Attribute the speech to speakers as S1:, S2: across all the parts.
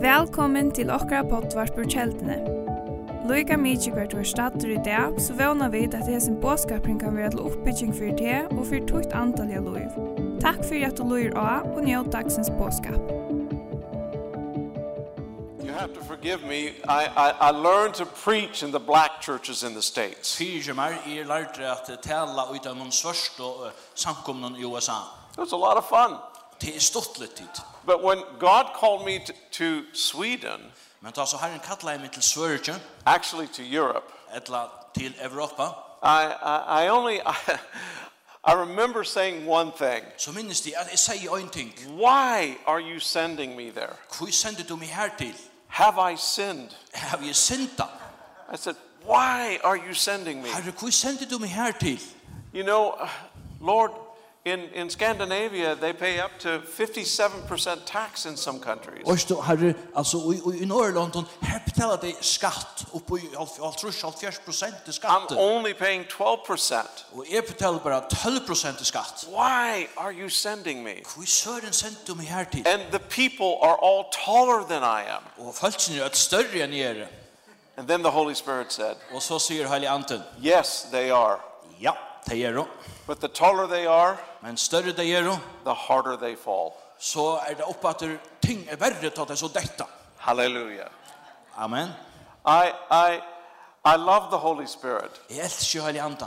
S1: Velkommen til okkara poddvarp ur kjeldene. Loika mykje hvert du er stater i dag, så vana vi at hesen båskapring kan være til oppbygging fyrir te og fyrir tukt antalliga loiv. Takk fyrir at du loir av og njød dagsens båskap.
S2: You have to forgive me. I, I, I learned to preach in the black churches in the States.
S3: Fyrir meg, jeg lærte at tala ut av noen svørst og samkomnen i USA.
S2: It was a lot of fun.
S3: Det er stort litt tid.
S2: But when God called me to, to Sweden,
S3: Men da så herren kallet jeg meg til Sverige,
S2: actually to Europe,
S3: etla til Europa,
S2: I, I, I only, I, I remember saying one thing.
S3: så minnes de at jeg sier en ting.
S2: Why are you sending me there?
S3: Hvor sender du meg her til?
S2: Have I sinned?
S3: Har jeg synda?
S2: I said, why are you sending me?
S3: Herre, hvor sender du meg her til?
S2: You know, uh, Lord, in, in Scandinavia, they pay up to 57% tax in some countries.
S3: Og stå, herre, altså, i, i, i Norrlondon, her betaler de skatt, oppe i 30-40%
S2: I'm
S3: til skatt.
S2: only paying 12%.
S3: Og jeg betaler bare 12% til skatt.
S2: Why are you sending me?
S3: Hvor søren sendte du meg her til?
S2: And the people are all taller than I am.
S3: Og følelsen er at større enn jeg er.
S2: And then the Holy Spirit said,
S3: Og så sier Heilig Anten,
S2: Yes, they are.
S3: ja, det er det.
S2: But the taller they are,
S3: Men større det er det,
S2: the harder they fall.
S3: så er det oppe at ting er verre til at det er så dette.
S2: Hallelujah.
S3: Amen.
S2: I, I, I love the Holy Spirit.
S3: Jeg elsker Heilig Anten.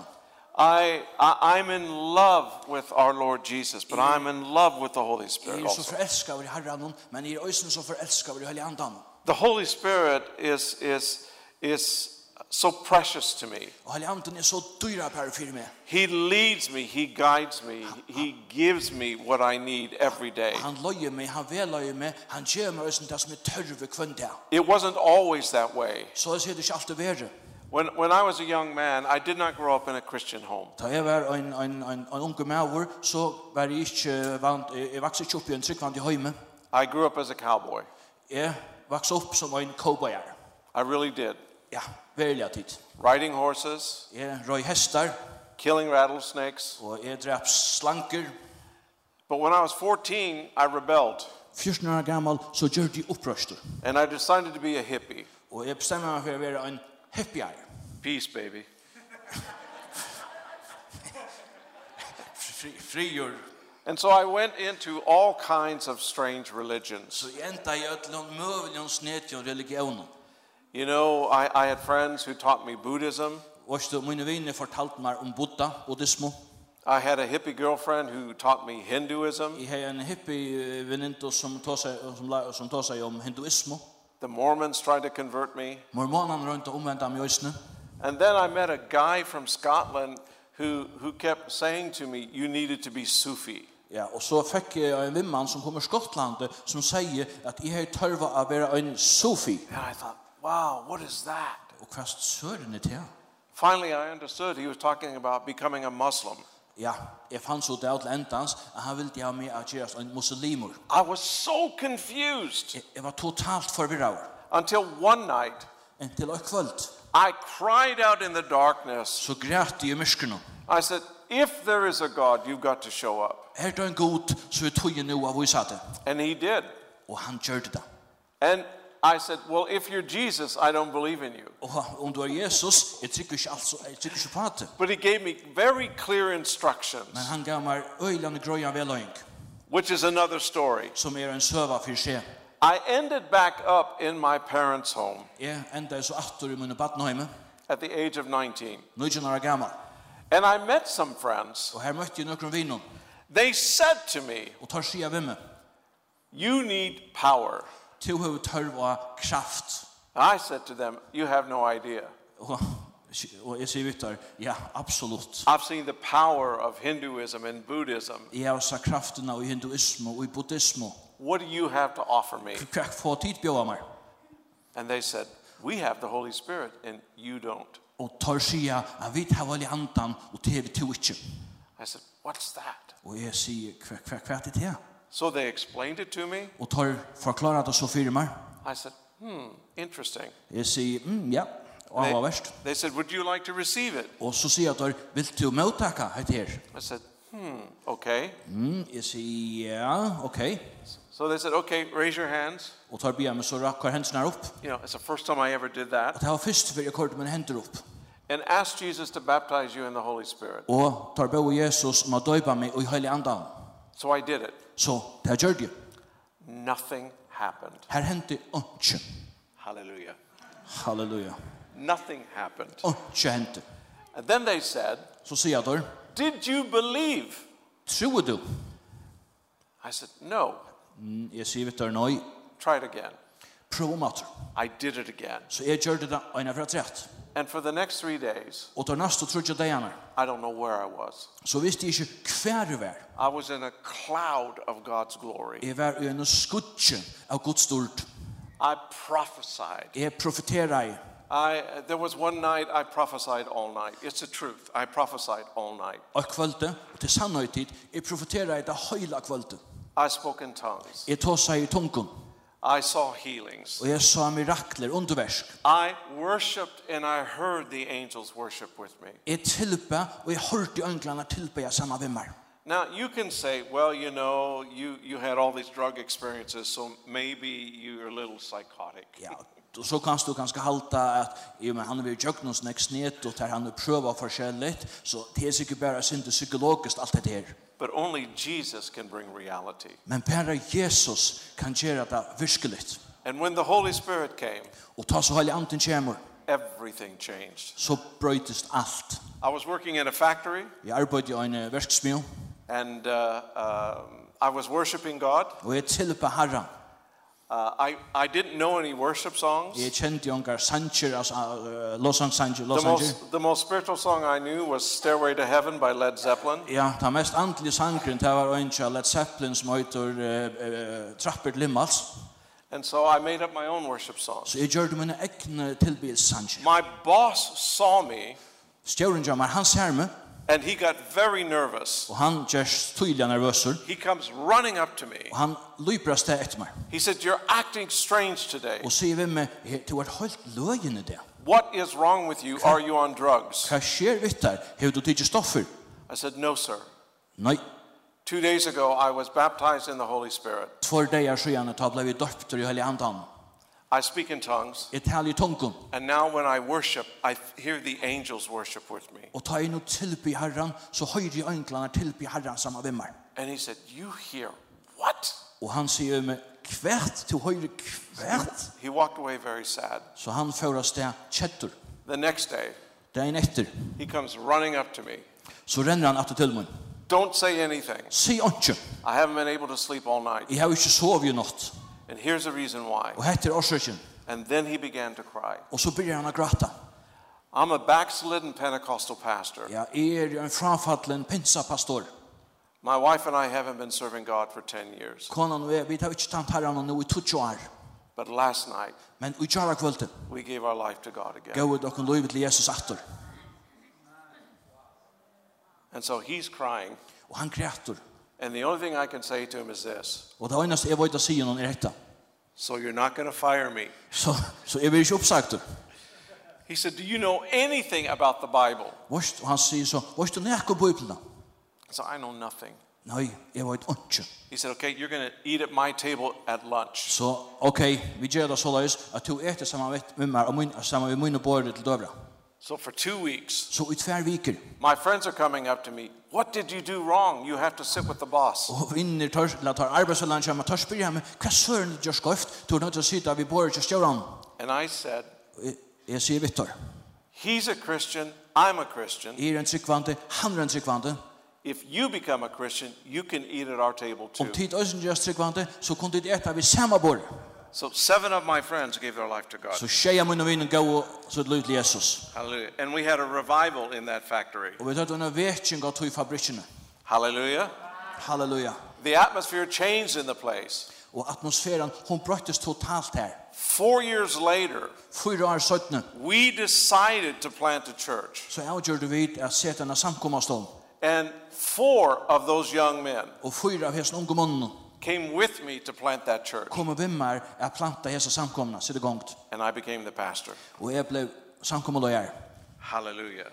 S2: I, I, I'm in love with our Lord Jesus, but I'm in love with the Holy
S3: Jeg
S2: Spirit
S3: er så
S2: also.
S3: forelsket over Herren, men jeg er også så forelsket over Heilig Anten.
S2: The Holy Spirit is, is, is so precious to me.
S3: Og Heilig Anten er så dyra per for meg.
S2: He leads me, He guides me, He gives me what I need every day.
S3: Han løyer meg, han veløyer meg, han gjør meg også det som er tørve kvendt her.
S2: It wasn't always that way.
S3: Så jeg ser det ikke alltid verre.
S2: When, when I was a young man, I did not grow up in a Christian home.
S3: Da jeg var en, en, en, en unge maver, så var jeg ikke vant, jeg, jeg vokste ikke opp i en tryggvand i høyme.
S2: I grew up as a cowboy.
S3: Jeg vokste opp som en cowboyer.
S2: I really did.
S3: Ja, velja tid.
S2: Riding horses,
S3: Jeg røy hestar,
S2: killing rattlesnakes.
S3: og jeg drep slanker.
S2: But when I was 14, I rebelled,
S3: 14 år gammal, så gjør de opprøster.
S2: and I decided to be a hippie.
S3: Og jeg bestemmer meg for å være en hippier.
S2: Peace, baby.
S3: Fri, frigjør.
S2: And so I went into all kinds of strange religions.
S3: Så jeg enda i ødelen møveljon snet og religionen.
S2: You know, I, I had friends who taught me Buddhism.
S3: Og så mine viner fortalte meg om um Buddha, buddhismo.
S2: I had a hippie girlfriend who taught me Hinduism,
S3: Jeg har en hippie venninto som tar seg, som, la- um som tar seg om hinduismo.
S2: the Mormons tried to convert me.
S3: Mormonene rundt og omvendt ham i øsene.
S2: And then I met a guy from Scotland who, who kept saying to me, You needed to be Sufi.
S3: Ja, og så fikk jeg en vimmann som kommer Skottland som sier at jeg har tørva å være en sofi.
S2: And I thought, Wow, what is that?
S3: Og hva søren er til?
S2: Finally, I understood he was talking about becoming a Muslim.
S3: Ja, jeg fann så det til endans at han ville ha meg at gjøre en muslimer.
S2: I was so confused
S3: Jeg, jeg var totalt forvirra over.
S2: until one night
S3: Inntil og kvöld
S2: I cried out in the darkness.
S3: så græt jeg i myskerne.
S2: I said, If there is a God, you've got to show up.
S3: Er det en god så vi tog nå av vise det.
S2: And he did.
S3: Og han gjør det da.
S2: And I said, Well, if you're Jesus, I don't believe in you.
S3: Og om du er Jesus, jeg trykker ikke, altså, jeg trykker ikke på det.
S2: But he gave me very clear instructions,
S3: Men han gav meg øylande grøya veløyng,
S2: which is another story.
S3: som er en søva for seg.
S2: I ended back up in my parents' home
S3: Jeg enda så atter i mine badnøyme,
S2: at the age of 19.
S3: 19 år gammal.
S2: And I met some friends.
S3: Og her møtte jeg noen vinnum,
S2: They said to me,
S3: og tar sida ved meg.
S2: You need power.
S3: To høy tørv og kraft.
S2: I said to them, You have no idea.
S3: Og, og jeg sier vittar, ja, absolutt.
S2: I've seen the power of Hinduism and Buddhism.
S3: Jeg har sa kraften av hinduismo og i buddhismo.
S2: What do you have to offer me?
S3: Hva få tid bjóa meg?
S2: And they said, We have the Holy Spirit, and you don't.
S3: Og tar sida, at vi tar vel i andan, og det er vi to ikke.
S2: I said, What's that?
S3: Og jeg sier, hva, hva, hva er det til?
S2: So they explained it to me.
S3: Og tar forklarer det så fyrir meg.
S2: I said, Hmm, interesting.
S3: Jeg sier, mm, ja, og han var
S2: They,
S3: verst.
S2: they said, Would you like to receive it?
S3: Og så sier jeg, vil du møtaka hette her?
S2: I said, Hmm, okay.
S3: Mm, jeg sier, ja, ok.
S2: So they said, okay, raise your hands.
S3: Og tar bia meg så rakkar hendene her opp.
S2: You know, it's the first time I ever did
S3: Og
S2: that.
S3: det var først før jeg kørte mine hender opp.
S2: And ask Jesus to baptize you in the Holy Spirit.
S3: Og tar bo Jesus om å døypa um meg og i heilig andan.
S2: So I did it.
S3: Så det gjør det.
S2: Nothing happened.
S3: Her hendte ikke.
S2: Hallelujah.
S3: Halleluja.
S2: Nothing happened.
S3: Ikke hendte.
S2: And then they said,
S3: Så sier jeg der,
S2: Did you believe?
S3: tror du?
S2: I said, No.
S3: Mm, Jeg sier vitt der nøy,
S2: Try it again.
S3: prøv om atter.
S2: I did it again.
S3: Så jeg gjør det da, og jeg har rett.
S2: And for the next three days,
S3: Og der neste trodde jeg deg
S2: I don't know where I was.
S3: Så visste jeg ikke hver jeg var.
S2: I was in a cloud of God's glory.
S3: Jeg var i en skutje av Guds stort.
S2: I prophesied.
S3: Jeg profeterer i.
S2: I, there was one night I prophesied all night. It's the truth. I prophesied all night.
S3: Og kvölde, og til sannhøy tid, jeg profeterer i det høyla kvölde.
S2: I spoke in tongues.
S3: Jeg tog seg i tungen,
S2: I saw healings.
S3: og jeg sa mirakler, underversk.
S2: I worshiped and I heard the angels worship with me.
S3: Jeg tilbe, og jeg hørte ønglene tilbe jeg samme vimmer.
S2: Now, you can say, well, you know, you, you had all these drug experiences, so maybe you're a little psychotic.
S3: Ja, og så kan du ganske halta at ja, men han er jo jøgnons nekst ned, og der han er prøva forskjellig, så det er sikkert bare sinde psykologiskt alt det her.
S2: But only Jesus can bring reality.
S3: Men bare Jesus kan gjøre det virkelig.
S2: And when the Holy Spirit came,
S3: Og ta så heilig anten kommer,
S2: everything changed.
S3: så brøytest alt.
S2: I was working in a factory,
S3: Jeg arbeidde i en eh, verksmiddel,
S2: and uh, um, I was worshiping God.
S3: og er jeg tilbe herren.
S2: Uh, I, I didn't know any worship songs.
S3: Jeg kjente jo engar sanger, altså eh, lovsang sanger,
S2: The
S3: lovsanger.
S2: most, the most spiritual song I knew was Stairway to Heaven by Led Zeppelin.
S3: Ja, den mest andelige sangren, det var en av Led Zeppelin som heter uh, uh, Trapper Limmals.
S2: And so I made up my own worship songs.
S3: Så jeg gjør det mine egne tilbydelsanger.
S2: My boss saw me,
S3: Stjøren jammer, han ser meg,
S2: and he got very nervous.
S3: og han gjør tydelig nervøser,
S2: He comes running up to me.
S3: og han løper av sted etter meg,
S2: He said, You're acting strange today.
S3: og sier ved meg, «He- du er helt løgn i det.
S2: What is wrong with you? Are you on drugs?
S3: Hva skjer vitt der? Hever du tidlig stoffer?
S2: I said, No, sir.
S3: Nei,
S2: Two days ago, I was baptized in the Holy Spirit.
S3: två dagar er sedan ta blev vi döpter i heliga andan.
S2: I speak in tongues,
S3: Ett härligt tungon.
S2: and now when I worship, I f- hear the angels worship with me.
S3: Och ta in och tillbe herran så höjer jag anklarna tillbe herran samma vimmar.
S2: And he said, You hear what?
S3: Och han säger med kvärt till höjre kvärt.
S2: He walked away very sad.
S3: Så han får oss där kättor.
S2: The next day,
S3: Dagen efter
S2: he comes running up to me.
S3: så ränner han att till mig.
S2: Don't say anything.
S3: Säg inte.
S2: I haven't been able to sleep all night.
S3: Jag har inte sovit ju något.
S2: And here's the reason why.
S3: Och heter orsaken.
S2: And then he began to cry.
S3: Och så börjar han att gråta.
S2: I'm a backslidden Pentecostal pastor.
S3: Jag är ju en frafallen er pinsapastor.
S2: My wife and I haven't been serving God for 10 years.
S3: Konan och jag, vi tar inte tant herran och nu i tutsi år.
S2: But last night,
S3: Men i tjara kvölden,
S2: we gave our life to God again.
S3: gav vi dock en livet till Jesus attor.
S2: And so he's crying.
S3: Og han kreator.
S2: And the only thing I can say to him is this
S3: Og det eneste jeg vet å si noen er dette.
S2: So you're not going to fire me.
S3: Så, så jeg blir ikke oppsagt.
S2: He said, Do you know anything about the Bible?
S3: Vårst, og han sier så, vårst du nek på Bibelen?
S2: I said, I know nothing.
S3: Nei, jeg vet ikke.
S2: He said, Okay, you're going to eat at my table at lunch.
S3: Så, ok, vi gjør det så løs, at du etter sammen med, med meg, og min, sammen med mine båre til døvra.
S2: So for two weeks,
S3: Så i tver viker,
S2: my friends are coming up to me. What did you do wrong? You have to sit with the boss.
S3: og vinner tørs, eller tar arbeidsland, kommer tørs, spyrir hjemme, hva søren du gjør skøyft, du er nødt til å sitte vi båre til stjøren.
S2: And I said,
S3: Og Jeg, jeg sier Vittor,
S2: He's a Christian. I'm a Christian.
S3: jeg er en tryggvante, han er en tryggvante.
S2: If you become a Christian, you can eat at our table too.
S3: Om tid øysen gjør tryggvante, så kunne dit etter vi samme båre.
S2: So seven of my friends gave their life to God.
S3: Så tjeja mun og vinen gå og så lut Jesus.
S2: Hallelujah. And we had a revival in that factory.
S3: Og vi tar en vetjing av tog fabrikkene.
S2: Hallelujah.
S3: Halleluja.
S2: The atmosphere changed in the place.
S3: Og atmosfæren, hon brøttes totalt her.
S2: Four years later,
S3: Fyra år søttene,
S2: we decided to plant a church.
S3: så avgjør du vid at sette en samkommastom.
S2: And four of those young men
S3: Og fyra av hessen unge munnen
S2: came with me to plant that church.
S3: kommer vimmer at planta hessa samkomna, sitte gongt.
S2: And I became the pastor.
S3: Og jeg ble samkommaløyer.
S2: Hallelujah.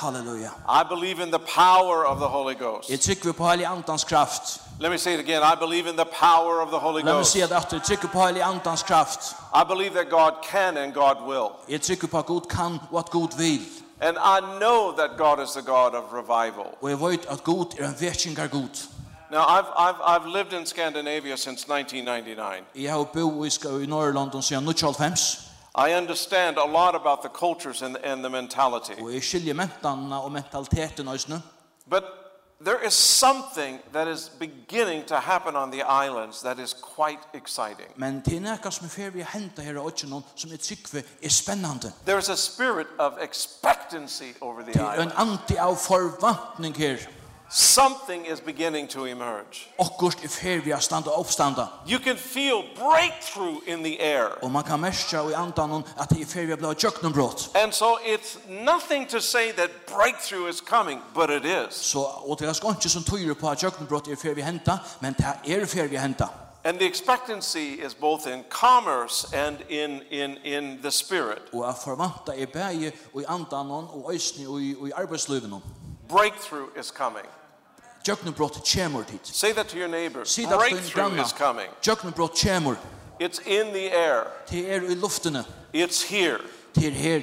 S3: Halleluja.
S2: I believe in the power of the Holy Ghost.
S3: Jeg trykker på Heilig Andans kraft.
S2: Let me say it again. I believe in the power of the Holy
S3: La meg
S2: Ghost.
S3: si det at jeg trykker på Heilig Andans kraft.
S2: I believe that God can and God will.
S3: Jeg trykker på at Gud kan og at Gud vil.
S2: And I know that God is the God of revival.
S3: Og jeg vet at Gud er en vekkingar Gud.
S2: Now, I've, I've, I've lived in Scandinavia since 1999.
S3: Jeg har bo i, Sk- i Norrland siden 1995.
S2: I understand a lot about the cultures and, and the mentality.
S3: Og jeg skiljer mentanna og mentaliteten også nå.
S2: But there is something that is beginning to happen on the islands that is quite exciting.
S3: Men til nekka som er fer vi henta her og noen som jeg trykker er spennende.
S2: There's a spirit of expectancy over the
S3: Det er en
S2: island.
S3: anti av forvantning her.
S2: Something is beginning to emerge.
S3: Akkurst er fer vi å standa og oppstanda.
S2: You can feel breakthrough in the air.
S3: Og man kan merka i andan at det er fer vi å bli tjøkkenbrott.
S2: And so it's nothing to say that breakthrough is coming, but it is.
S3: Så, og det er sko ikke som tyder på at tjøkkenbrott er fer vi henta, men det er fer vi henta.
S2: And the expectancy is both in commerce and in, in, in the spirit.
S3: Og jeg forvanta er bæge og i andan og øysni og i, og i arbeidslivet.
S2: Breakthrough is coming.
S3: Tjøkkenbrott kjemur dit.
S2: Say that to your neighbor.
S3: Si det til en
S2: Breakthrough
S3: granna.
S2: is coming.
S3: Tjøkkenbrott kjemur.
S2: It's in the air.
S3: Det er i luftene.
S2: It's here.
S3: Det er her.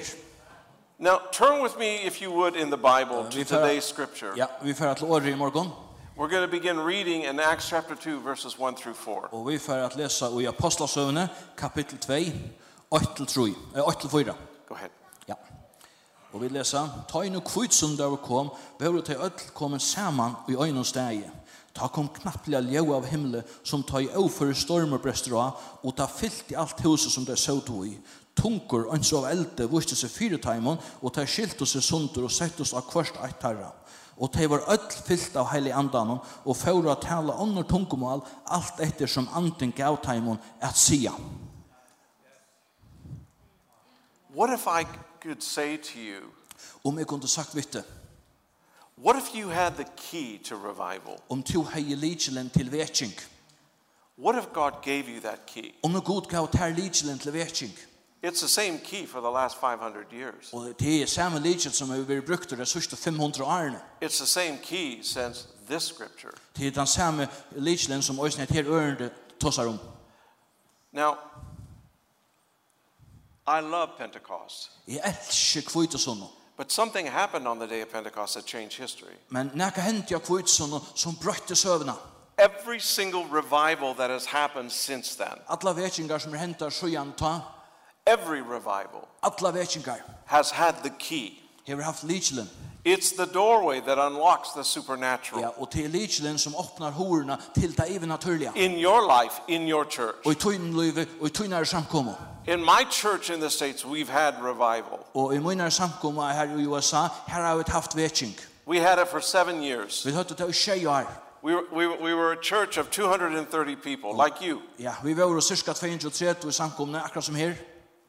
S2: Now, turn with me, if you would, in the Bible to
S3: vi får-
S2: today's scripture.
S3: Ja, vi fer til året i morgon.
S2: We're going to begin reading in Acts chapter 2, verses 1 through 4.
S3: Og vi fer til lesa i Apostlasøvne, kapittel 2, 8-3. 8-4.
S2: Go ahead.
S3: Ja. Og vi lesa, ta inn og kvitt som der kom, vore til ødel kommet saman i øynene stegi. Ta kom knapplega ljau av himle, som ta i åføre stormer brester av, og ta fyllt i alt huset som der søvd i. Tungur, ønsk av elde, viste seg fire taimon, og ta skilt oss i sundur og sett oss av kvørst eit tarra. Og ta var öll fyllt av heilig andanon, og fóra at tala annar tungumal, alt etter som anden gav taimon at sia.
S2: What if I could say to you,
S3: Om jeg kunde sagt vitte,
S2: what if you had the key to revival?
S3: om to hei lidkjelen til vetsing,
S2: What if God gave you that key?
S3: Om nu god gav tær lidkjelen til vetsing,
S2: It's the same key for the last 500 years.
S3: og det er samme lidkjel som har vært brukt de sørste 500 årene,
S2: It's the same key since this scripture.
S3: det er den samme lidkjelen som også er her um. ørende tossar om.
S2: Now, I love Pentecost,
S3: Jeg elsker kvitesånden,
S2: but something happened on the day of Pentecost that changed history.
S3: men nekka hendt jeg kvitesånden som brøtte søvna.
S2: Every single revival that has happened since then,
S3: Alla vetsingar som er hentar sjøan ta,
S2: every revival
S3: alla vetsingar
S2: has had the key.
S3: har haft lidkjelen,
S2: It's the doorway that unlocks the supernatural
S3: ja, og det er lidkjelen som åpnar horna til det even naturliga.
S2: in your life, in your church.
S3: Og i tøynløyve, og i tøynare samkommer.
S2: In my church in the States, we've had revival.
S3: Og i munnare samkommer her i USA, her har vi haft vetsing.
S2: We had it for seven years.
S3: Vi høytte det i tjei år.
S2: We were, we, were- we were a church of 230 people, like you.
S3: Ja, vi var jo cirka 230 i samkomne, akkurat som her.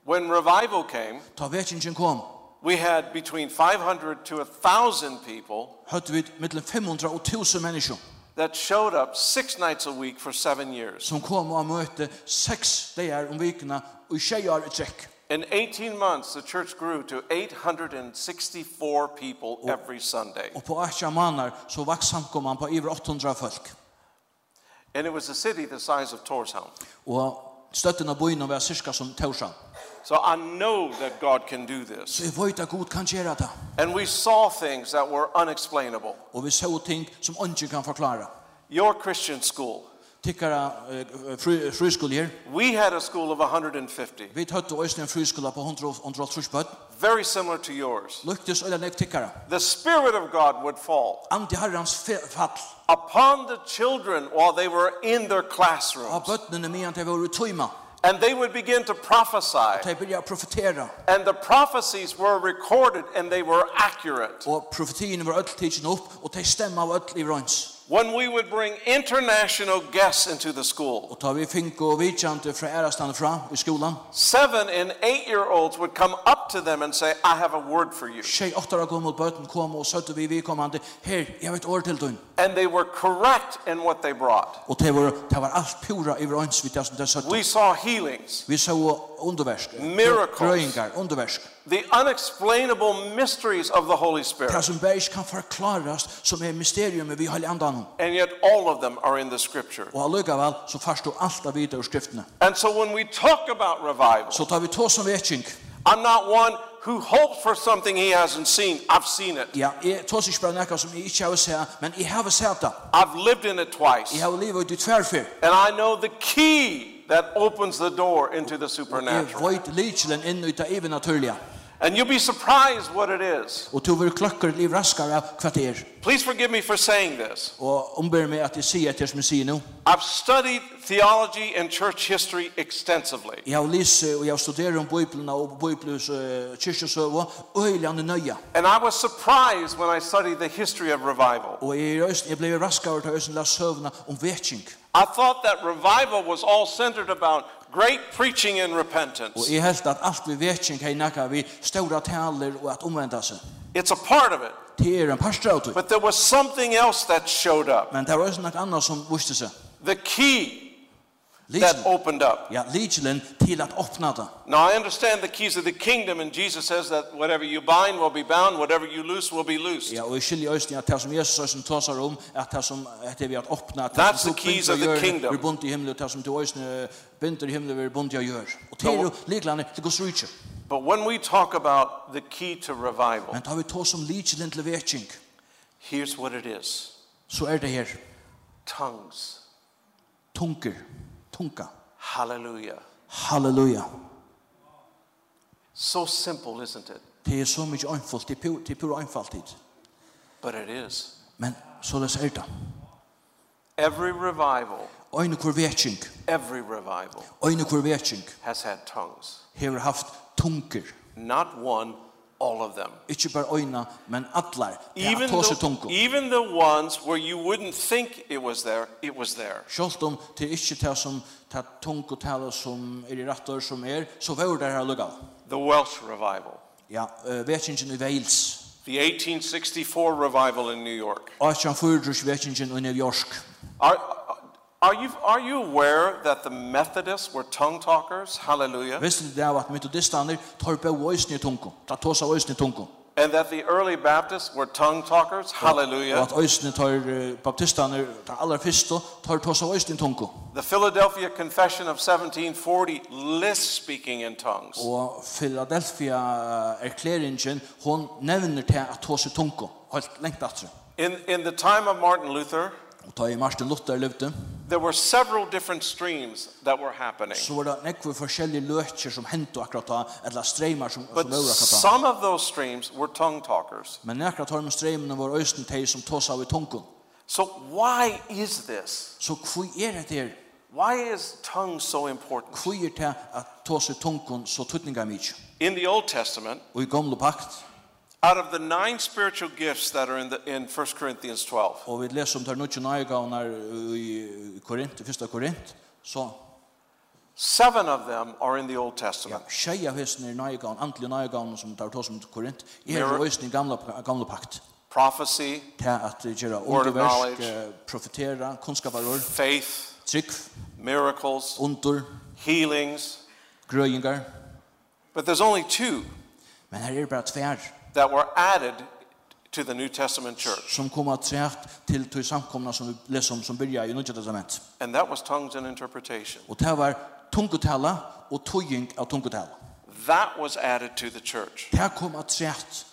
S2: When revival came,
S3: Ta vekingen kom,
S2: we had between 500 to 1,000 people
S3: høytte vi mellom 500 og 1000 mennesker
S2: that showed up six nights a week for seven years.
S3: som kom og møtte seks dager om vikene og i tjei år i trekk.
S2: In 18 months, the church grew to 864 people every Sunday.
S3: Og på 8 måneder så vaks samkomman på over 800 folk.
S2: And it was a city the size of Torshavn.
S3: Og støtten av byen var cirka som tausan.
S2: So I know that God can do this.
S3: Så jeg vet at Gud kan gjøre det.
S2: And we saw things that were unexplainable.
S3: Og vi så ting som ikke kan forklare.
S2: Your Christian school,
S3: Tikkara eh, fri- friskole her.
S2: we had a school of 150,
S3: Vi høytte også en friskole på 100 130 bøtt.
S2: very similar to yours.
S3: Lyktes øyne nekv tikkara.
S2: The Spirit of God would fall
S3: Andi herrans fe- fall.
S2: upon the children while they were in their
S3: av
S2: classrooms.
S3: bøttene med at jeg var utøyma.
S2: And they would begin to prophesy.
S3: Jeg begynte å profetera.
S2: And the prophecies were recorded and they were accurate.
S3: Og profetien var öll tidsen upp, og de stemma av öll i røns.
S2: When we would bring international guests into the school,
S3: Og ta vi fink og vidkjante fra ærastand fra i skolan.
S2: seven and eight year olds would come up to them and say, I have a word for you.
S3: Tjej åttara kom mot bøtten kom og søtte vi vidkommande. Her, jeg vet år til døgn.
S2: And they were correct in what they brought.
S3: Og det var, det var alt pura i røns vi det som det søtte.
S2: We saw healings,
S3: Vi så underversk.
S2: Miracles.
S3: Grøyngar, underversk.
S2: the unexplainable mysteries of the Holy
S3: Det er
S2: Spirit.
S3: som bare ikke kan forklares som er mysterium vi har i andan.
S2: And yet all of them are in the scripture.
S3: Og allikevel så først du alt av videre skriftene.
S2: And so when we talk about revival,
S3: Så tar vi to som vetjeng.
S2: I'm not one who hopes for something he hasn't seen. I've seen it.
S3: Ja, jeg tar ikke bare noe som jeg ikke har sett, men jeg har sett det.
S2: I've lived in it twice.
S3: Jeg har livet ut i tverfer.
S2: And I know the key that opens the door into the
S3: Jeg
S2: supernatural.
S3: vet lidselen inn ut av even naturlige.
S2: And you'll be surprised what it is.
S3: Og to vil klokker liv raskere av hva det er.
S2: Please forgive me for saying this.
S3: Og ombør meg at jeg sier etter som jeg sier nå.
S2: I've studied theology and church history extensively.
S3: Jeg har lyst og jeg har studeret om Bibelen um og Bibelens uh, kyrkjøsøve, øyland og nøye.
S2: And I was surprised when I studied the history of revival.
S3: Og jeg, er øyst- jeg ble raskere til um øyne la søvnene om vetjeng.
S2: I thought that revival was all centered about great preaching and
S3: Og
S2: repentance.
S3: jeg held at alt vi vetjeng har nakka vi ståra taler og at omvenda seg.
S2: It's a part of it.
S3: Det er en parstrautu.
S2: But there was something else that showed up.
S3: Men det var også noe annet som viste seg.
S2: The key that
S3: Lidselen,
S2: opened up.
S3: ja, lidselen til at åpna det.
S2: Now I understand the keys of the kingdom, and Jesus says that whatever you bind will be bound, whatever you loose will be loosed.
S3: Ja, og jeg skiljer øyne at det som Jesus øyne tåsar om, at det som at det vi at åpna, at det
S2: That's
S3: som
S2: the keys of the kingdom.
S3: vi bunt i himmelen, og det som du øyne binder i himmelen, vi bunt i gjør. Og det er jo liglande til Guds rydtje.
S2: But when we talk about the key to revival,
S3: Men tar vi tås om lidselen til vetjeng,
S2: here's what it is
S3: så er det her
S2: tongues.
S3: tunker, tunka.
S2: Hallelujah.
S3: Halleluja.
S2: So simple, isn't it?
S3: Det er så mykje einfalt, det er pur, det er pur einfaltid.
S2: But it is.
S3: Men så det er det.
S2: Every revival,
S3: Øyne hvor vetjeng,
S2: every revival
S3: øyne hvor vetjeng,
S2: has had tongues.
S3: hever haft tunker.
S2: Not one, all of them.
S3: Ikke bare øyne, men atlar. Det er
S2: Even e-
S3: tåse
S2: the,
S3: tunker.
S2: even the ones where you wouldn't think it was there, it was there.
S3: Sjølt om det er ikke det som det tunke tale som er i rett år som er, så var det her lukka.
S2: The Welsh revival,
S3: Ja, uh, vetjingen i Wales.
S2: the 1864 revival in New York.
S3: 1840 vetjingen i New York.
S2: Are, are, you, are you aware that the Methodists were tongue talkers? Hallelujah.
S3: Visste du det av at metodistaner tar på oisne i tunke. Ta tåsa oisne i tunke.
S2: And that the early Baptists were tongue talkers?
S3: Og
S2: Hallelujah.
S3: at oisne tar uh, baptistaner, ta aller fyrste, tar tåsa oisne i tunke.
S2: The Philadelphia Confession of 1740 lists speaking in tongues.
S3: Og Philadelphia erklæringen, hon nevner til at tåsa tunke. Helt lengt atre.
S2: In, in the time of Martin Luther,
S3: Og ta i Martin Luther løpte,
S2: there were several different streams that were happening.
S3: så var er det nekve forskjellige løkjer som hentu akkurat da, eller streimar som,
S2: But
S3: som var akkurat da.
S2: some of those streams were tongue talkers.
S3: Men akkurat har med streimene var øysten teg som tås av i tunken.
S2: So why is this?
S3: Så hvor er det her?
S2: Why is tongue so important?
S3: Hvor er det at tås i tunken så tuttninga mykje?
S2: In the Old Testament,
S3: Og i gamle pakt,
S2: out of the nine spiritual gifts that are in, the, in 1 Corinthians 12,
S3: og vi leser om der nutje nøygavnar øh, i Korint, i fyrsta Korint, så
S2: seven of them are in the Old
S3: ja,
S2: Testament.
S3: tjei av hessin er nøygavn, antlige nøygavn som der tås om til Korint, er
S2: Mirror-
S3: øysten i gamle, gamle pakt.
S2: Prophecy,
S3: Til at gjøre
S2: Word of
S3: underversk,
S2: knowledge.
S3: eh, profetera, kunnskaparord,
S2: faith,
S3: trygg,
S2: miracles,
S3: under,
S2: healings.
S3: grøyingar,
S2: But there's only two
S3: Men her er bara tvær
S2: that were added to the New Testament church,
S3: som kommer att träft till till samkomna som vi läser om som börjar i Nya testament.
S2: and that was tongues and interpretation.
S3: Och det var tungotala och tojing av tungotala.
S2: That was added to the church.
S3: Det här kom att träft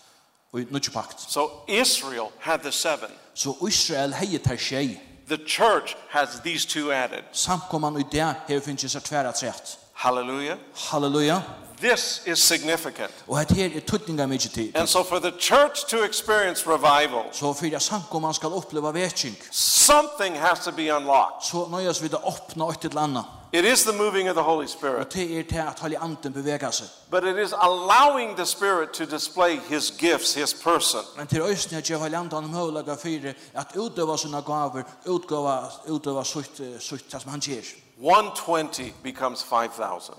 S3: i Nya pakt.
S2: So Israel had the seven.
S3: Så Israel hejer tar tjej.
S2: The church has these two added.
S3: Samkomman i det här finns ju tvära träft.
S2: Hallelujah.
S3: Halleluja.
S2: This is significant.
S3: Och det här är tuttningar mycket tid.
S2: And so for the church to experience revival,
S3: Så för att samkomman ska uppleva vetjing.
S2: something has to be unlocked.
S3: Så nöjas vi att öppna ett till annat.
S2: It is the moving of the Holy
S3: Och
S2: Spirit,
S3: det är det att hålla anden beväga sig.
S2: but it is allowing the Spirit to display his gifts, his person.
S3: Men til øysten at jeg har landet om høylaga fyrir at utøva sina gaver, utgava, utøva sutt, eh, sutt det som han gjør.
S2: 120 becomes 5,000.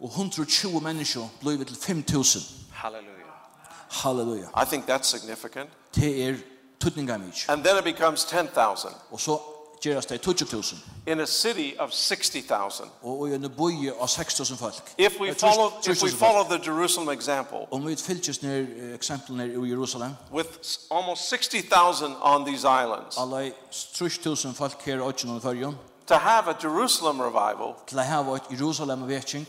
S3: Og 120 mennesker blir til 5.000.
S2: Hallelujah.
S3: Halleluja.
S2: I think that's significant.
S3: Det er tutninga mykje.
S2: And then it becomes 10,000.
S3: Og så gerast det 20.000
S2: in a city of 60,000.
S3: og i en boi av 6.000 folk.
S2: If we
S3: Eh, 3
S2: follow if we
S3: 3.000 folk.
S2: follow the Jerusalem example
S3: Om vi fylgjes ned eksempelene i Jerusalem,
S2: with s- almost 60,000 on these islands
S3: alle 30.000 folk her og ikke noen førjen,
S2: to have a Jerusalem revival,
S3: til å hava et Jerusalem-vekking,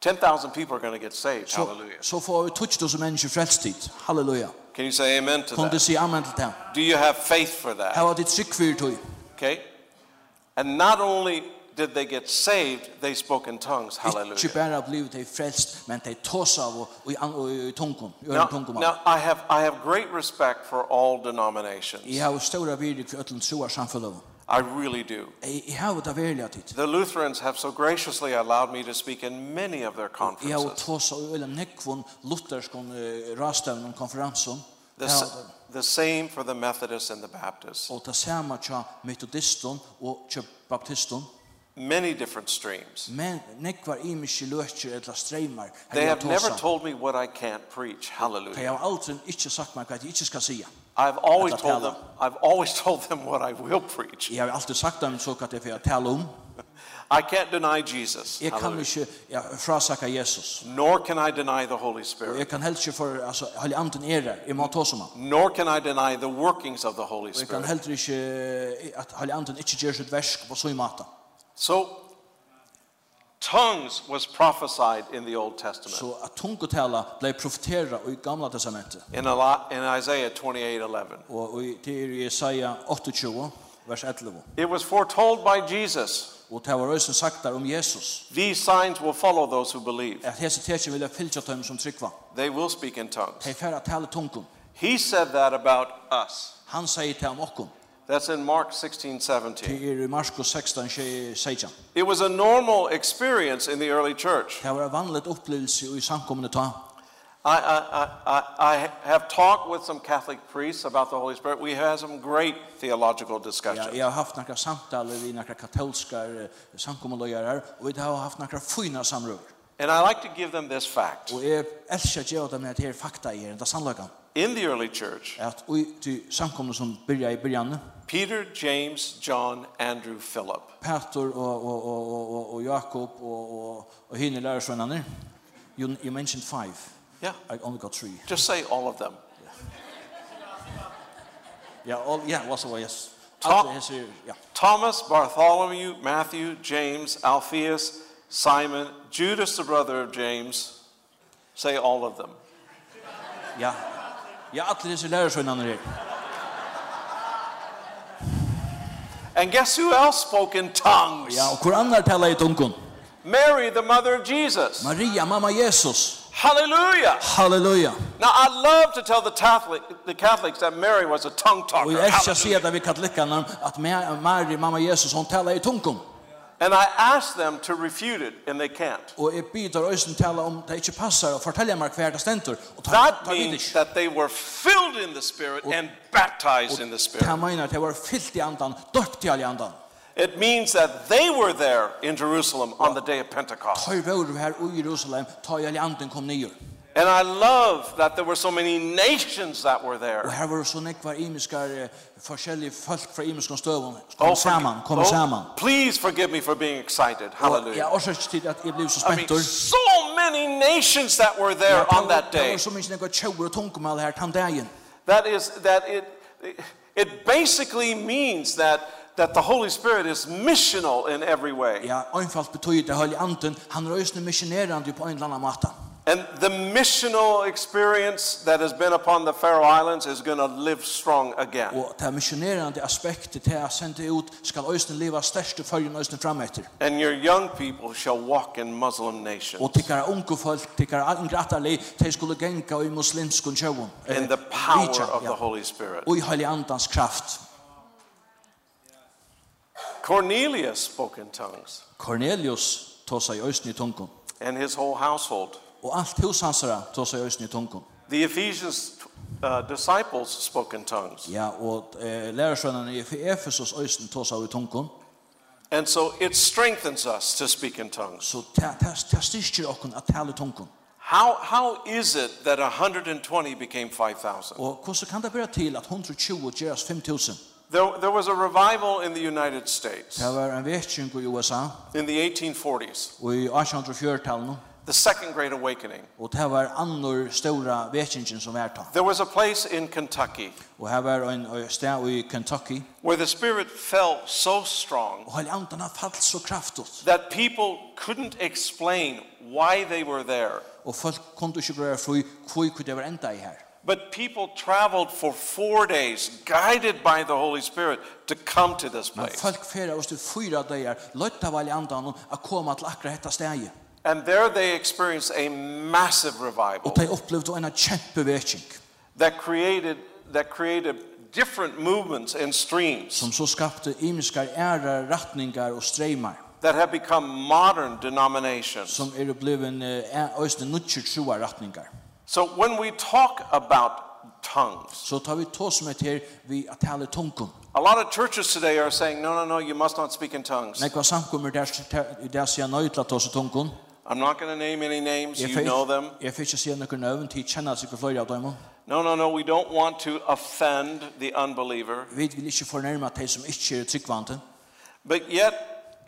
S2: 10,000 people are going to get saved.
S3: så,
S2: Hallelujah.
S3: så får vi 20.000 mennesker frelstid. Halleluja.
S2: Can you say amen to
S3: Kom du
S2: that?
S3: si amen til det.
S2: Do you have faith for
S3: Her
S2: that?
S3: var ditt trygg fyrir tog.
S2: Okay? And not only did they get saved, they spoke in tongues.
S3: Ikke
S2: Hallelujah.
S3: bare blivet de frelst, men de tås av og, og, i an- og i tungen, i øren
S2: Now,
S3: tungen.
S2: now I have I have great respect for all denominations.
S3: Jeg har ståra virdik for ötlund troar samfunnet.
S2: I really do.
S3: Jeg, jeg har det verilig tid.
S2: The Lutherans have so graciously allowed me to speak in many of their
S3: Jeg har
S2: conferences.
S3: tås av øyla nekvun lutherskon uh, rastavn og konferansen.
S2: The,
S3: Ja,
S2: s- the same for the Methodists and the Baptists.
S3: Og ta sama tja metodiston og tja baptiston.
S2: Many different streams.
S3: Men nekvar imiske løtjer eller streymar. har
S2: They
S3: jeg
S2: have never
S3: tåsað.
S2: told me what I can't preach.
S3: För
S2: Hallelujah.
S3: jag har aldrig inte sagt mig vad jag inte ska säga.
S2: I've always
S3: At the
S2: told them
S3: Tala.
S2: I've always told them what I will preach.
S3: Jag har alltid sagt dem så att det är för att tala om.
S2: I can't deny Jesus.
S3: Jag kan
S2: Hallelujah.
S3: inte jag frasaka Jesus.
S2: Nor can I deny the Holy
S3: Och
S2: Spirit.
S3: jag kan helst inte för alltså hålla anten är det. Jag er må ta som han.
S2: Nor can I deny the workings of the Holy
S3: Och jag kan
S2: Spirit.
S3: helst eh, inte att hålla anten inte gör sitt versk på så i maten.
S2: So tongues was prophesied in the Old Testament
S3: Så att tungotala blev profetera i gamla testamentet.
S2: in a lot in Isaiah 28:11.
S3: Och och i- det är i Jesaja 28 vers 11.
S2: It was foretold by Jesus.
S3: Och det var rösten sagt där om Jesus.
S2: These signs will follow those who believe.
S3: Att hese techen vill jag fylja dem som tryckva.
S2: They will speak in tongues.
S3: Hej färra tala tungon.
S2: He said that about us.
S3: Han säger till honom.
S2: That's in Mark 16:17.
S3: Det um er i Marskos 16, 16.
S2: It was a normal experience in the early church.
S3: Det var en vanlig opplevelse i samkommende ta.
S2: I, I, I- I, I have talked with some Catholic priests about the Holy Spirit. We had some great theological
S3: Ja,
S2: discussions.
S3: jeg har haft några samtaler vi några katolska samkommande här och vi har haft några fina samråd.
S2: And I like to give them this fact.
S3: Och jag älskar att göra det med att det är fakta i den där sannlagan.
S2: In the early church,
S3: Att oj, till samkommande som börjar i början,
S2: Peter, James, John, Andrew, Philip,
S3: Peter och, och, och, och, och, och Jakob och, och, och hinner lära sig varandra. You, you mentioned five.
S2: Yeah.
S3: I only got three.
S2: just say all of them,
S3: Yeah, all, yeah, what's the way, yes.
S2: Ta-
S3: Allt det här ser, ja.
S2: Thomas, Bartholomew, Matthew, James, Alphaeus, Simon, Judas, the brother of James, say all of them.
S3: Ja. Ja, allir hese lærarsveinnarnir her.
S2: And guess who else spoke in tongues?
S3: Ja, og hvor annar tala i tungun?
S2: Mary, the mother of Jesus.
S3: Maria, mamma Jesus.
S2: Hallelujah.
S3: Halleluja.
S2: Now, I love to tell the, Catholic, the Catholics that Mary was a tongue talker.
S3: Og jeg elsker å si
S2: Hallelujah.
S3: at vi katolikkerne at Ma- Maria, mamma Jesus, hon tala i tungun.
S2: And I ask them to refute it, and they can't.
S3: Og jeg bidrar øysen tala om det ikke passar og fortelja meg hver det stendur. Og ta,
S2: That
S3: ta vid
S2: means
S3: ikke.
S2: that they were filled in the Spirit and baptized in the
S3: Ta
S2: Spirit.
S3: meina at jeg var fyllt i andan, døpt i all i andan.
S2: It means that they were there in Jerusalem on the day of Pentecost.
S3: Høy vore her i Jerusalem, ta i all i anden kom nyer.
S2: And I love that there were so many nations that were
S3: Og
S2: there.
S3: her var så nekvar imiskar, eh, forskjellige folk fra imiskar støvun.
S2: Oh,
S3: Kom
S2: forgi-
S3: saman, kom
S2: oh,
S3: saman.
S2: Please forgive me for being excited.
S3: Og Jeg
S2: Hallelujah.
S3: orsak til at jeg blev så
S2: I mean,
S3: spentor.
S2: so many nations that were there on that
S3: Det
S2: day.
S3: var så minst nekva tjauer og tunkumal her tann dagen.
S2: That is that it it basically means that that the Holy Spirit is missional in every way.
S3: Ja, einfalt betyr det høylig anten, han røysne missionerande på en eller annan måte.
S2: And the missional experience that has been upon the Faroe Islands is going to live strong again.
S3: Og det missionerande aspektet til jeg sendte ut skal øysne leva størst og følgen øysne frametter.
S2: And your young people shall walk in Muslim nations.
S3: Og tikkara unge folk, tikkara yngre atterlig, de skulle genga i muslimskun tjauun.
S2: In the power of the Holy Spirit.
S3: Og i høylig andans kraft.
S2: Cornelius spoke in tongues
S3: Cornelius tåsa i øysne i tungun.
S2: and his whole household.
S3: Og alt hos hansara tåsa i øysne i tungun.
S2: The Ephesians uh, disciples spoke in tongues.
S3: Ja, og eh, lærersvennerne i Efesos øysen tåsa i tungun.
S2: And so it strengthens us to speak in tongues.
S3: Så ta ta ta styrkir okkum at tala tungun.
S2: How, how is it that 120 became 5,000?
S3: Og hvordan kan det vera til at 120 gerast 5000?
S2: There, there was a revival in the United States
S3: Det var en vekking i USA
S2: in the 1840s,
S3: og i 1840-tallene,
S2: the Second Great Awakening.
S3: og det var andre store vekkingen som var ta.
S2: There was a place in Kentucky
S3: Og her var en en sted i Kentucky,
S2: where the Spirit fell so strong
S3: og hele anden har fallet så kraftigt,
S2: that people couldn't explain why they were there.
S3: og folk kunne ikke bare fri hvor kunne det være enda i her.
S2: But people traveled for four days, guided by the Holy Spirit, to come to this
S3: Men
S2: place.
S3: folk fyrir oss til fyra dagar, løtta var i andan å komme til akkurat dette stedet.
S2: And there they experienced a massive revival
S3: Og de opplevde en kjempe vekking,
S2: that created, that created different movements and streams
S3: som så skapte imiskar ærer, retningar og streymar,
S2: that have become modern denominations.
S3: som er bliven øyne nutjer troa retningar.
S2: So when we talk about tongues,
S3: Så tar vi tås med her vi at tale tungum.
S2: a lot of churches today are saying, no, no, no, you must not speak in tongues.
S3: Nekva samkommer der, der sier nøy til at tås i tungum.
S2: I'm not going to name any names.
S3: Jeg
S2: You know them.
S3: Jeg fikk ikke si noen nøvn til kjenner seg for flere av dem.
S2: No, no, no, we don't want to offend the unbeliever.
S3: Vi vil ikke fornærme de som ikke er tryggvante.
S2: But yet,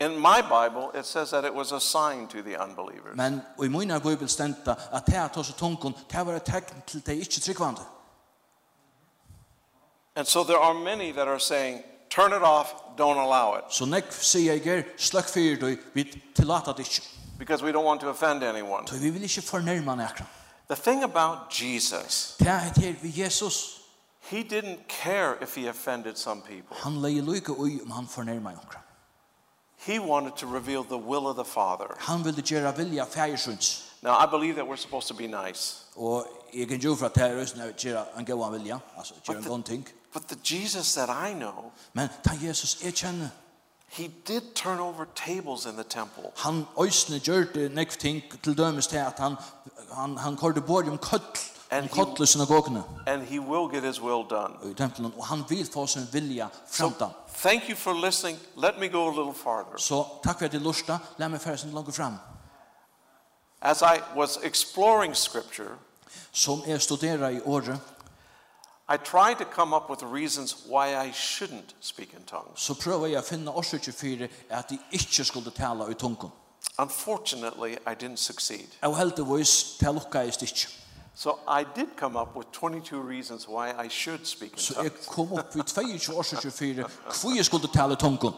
S2: in my Bible, it says that it was a sign to the unbelievers.
S3: Men i mina bibel stendta at det at tås i tungum, det var et tegn til de ikke tryggvante.
S2: And so there are many that are saying, turn it off, don't allow it,
S3: Så nekv sier jeg er, sløkk fyrir du, vi tillater det ikke.
S2: because we don't want to offend anyone.
S3: Så vi vil ikke fornærme nekra.
S2: The thing about Jesus,
S3: Det er her vi Jesus,
S2: he didn't care if he offended some people.
S3: han leie lykke ui om han fornærmer nekra.
S2: He wanted to reveal the will of the Father.
S3: Han ville gjøre vilja fægersunds.
S2: Now, I believe that we're supposed to be nice,
S3: Og jeg kan jo for at det er røsne gjøre en god vilja, altså gjøre en god ting.
S2: but the Jesus that I know,
S3: Men ta Jesus jeg kjenner,
S2: he did turn over tables in the temple.
S3: han øsne gjør det nekv ting til dømes til at han, han, han kårde bort om køtl, om
S2: And he-
S3: køtl i synagogene
S2: and he will get his will done.
S3: i tempelen, og han vil få sin vilja framtan.
S2: Thank you for listening. Let me go a little farther.
S3: Så takk for at jeg lusta, la meg fære sin langt fram.
S2: As I was exploring scripture,
S3: Som jeg studerer i året,
S2: I tried to come up with reasons why I shouldn't speak in tongues.
S3: så prøver jeg å finne årsøkje for at jeg ikke skulle tale i tungen.
S2: Unfortunately, I didn't succeed.
S3: Og heldigvis, det lukka jeg ikke.
S2: So I did come up with 22 reasons why I should speak in
S3: Så jeg
S2: tongues.
S3: kom opp i 22 årsøkje for hvor jeg skulle tale i tungen.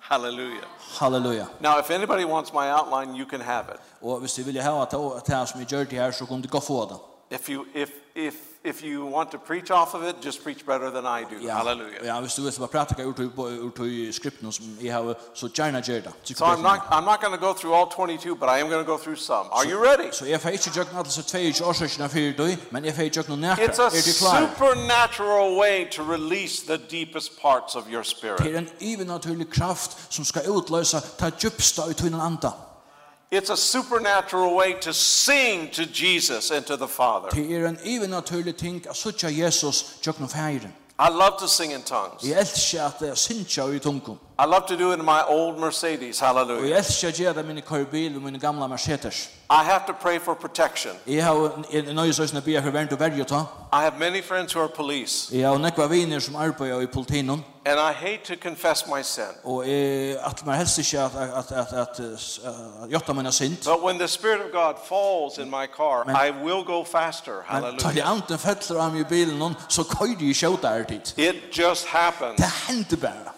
S2: Hallelujah.
S3: Halleluja.
S2: Now, if anybody wants my outline, you can have it.
S3: Og hvis du vil ha at det her som jeg gjør det her, så kunne du gå få det.
S2: If you, if, if, if you want to preach off of it, just preach better than I do. Hallelujah.
S3: Ja, hvis du vil bare pratika ut ut i skripten som jeg har, så gjerne gjør det.
S2: So I'm not, I'm not going to go through all 22, but I am going to go through some. Are you ready?
S3: Så jeg får ikke gjøre alle disse 22 årsøkene for deg, men jeg får gjøre noe nærkere.
S2: It's a
S3: Er du klar?
S2: supernatural way to release the deepest parts of your
S3: Det
S2: spirit.
S3: er en ivenaturlig kraft som skal utløse ta djupsta ut i en anda.
S2: It's a supernatural way to sing to Jesus and to the Father.
S3: Det er en ivenaturlig ting at suttja Jesus gjøkken færen.
S2: I love to sing in tongues.
S3: Jeg elsker at jeg synsja i tungen.
S2: I love to do it in my old Mercedes.
S3: Og
S2: Hallelujah.
S3: jeg elsker at gjøre det mine karbil og mine gamla Mercedes.
S2: I have to pray for protection.
S3: Jeg har en nøye søsne bia for verden og verden ta.
S2: I have many friends who are police,
S3: Jeg har nekva viner som arbeider i politinen.
S2: and I hate to confess my sin.
S3: Og jeg at man helst ikke at, at, at, at, at jotta mine sint.
S2: But when the Spirit of God falls in my car,
S3: Men-
S2: I will go faster.
S3: Men tar jeg
S2: Hallelujah.
S3: anten fettler av meg i bilen, noen, så køyder jeg sjøta her tid.
S2: It just happens.
S3: Det hender bare.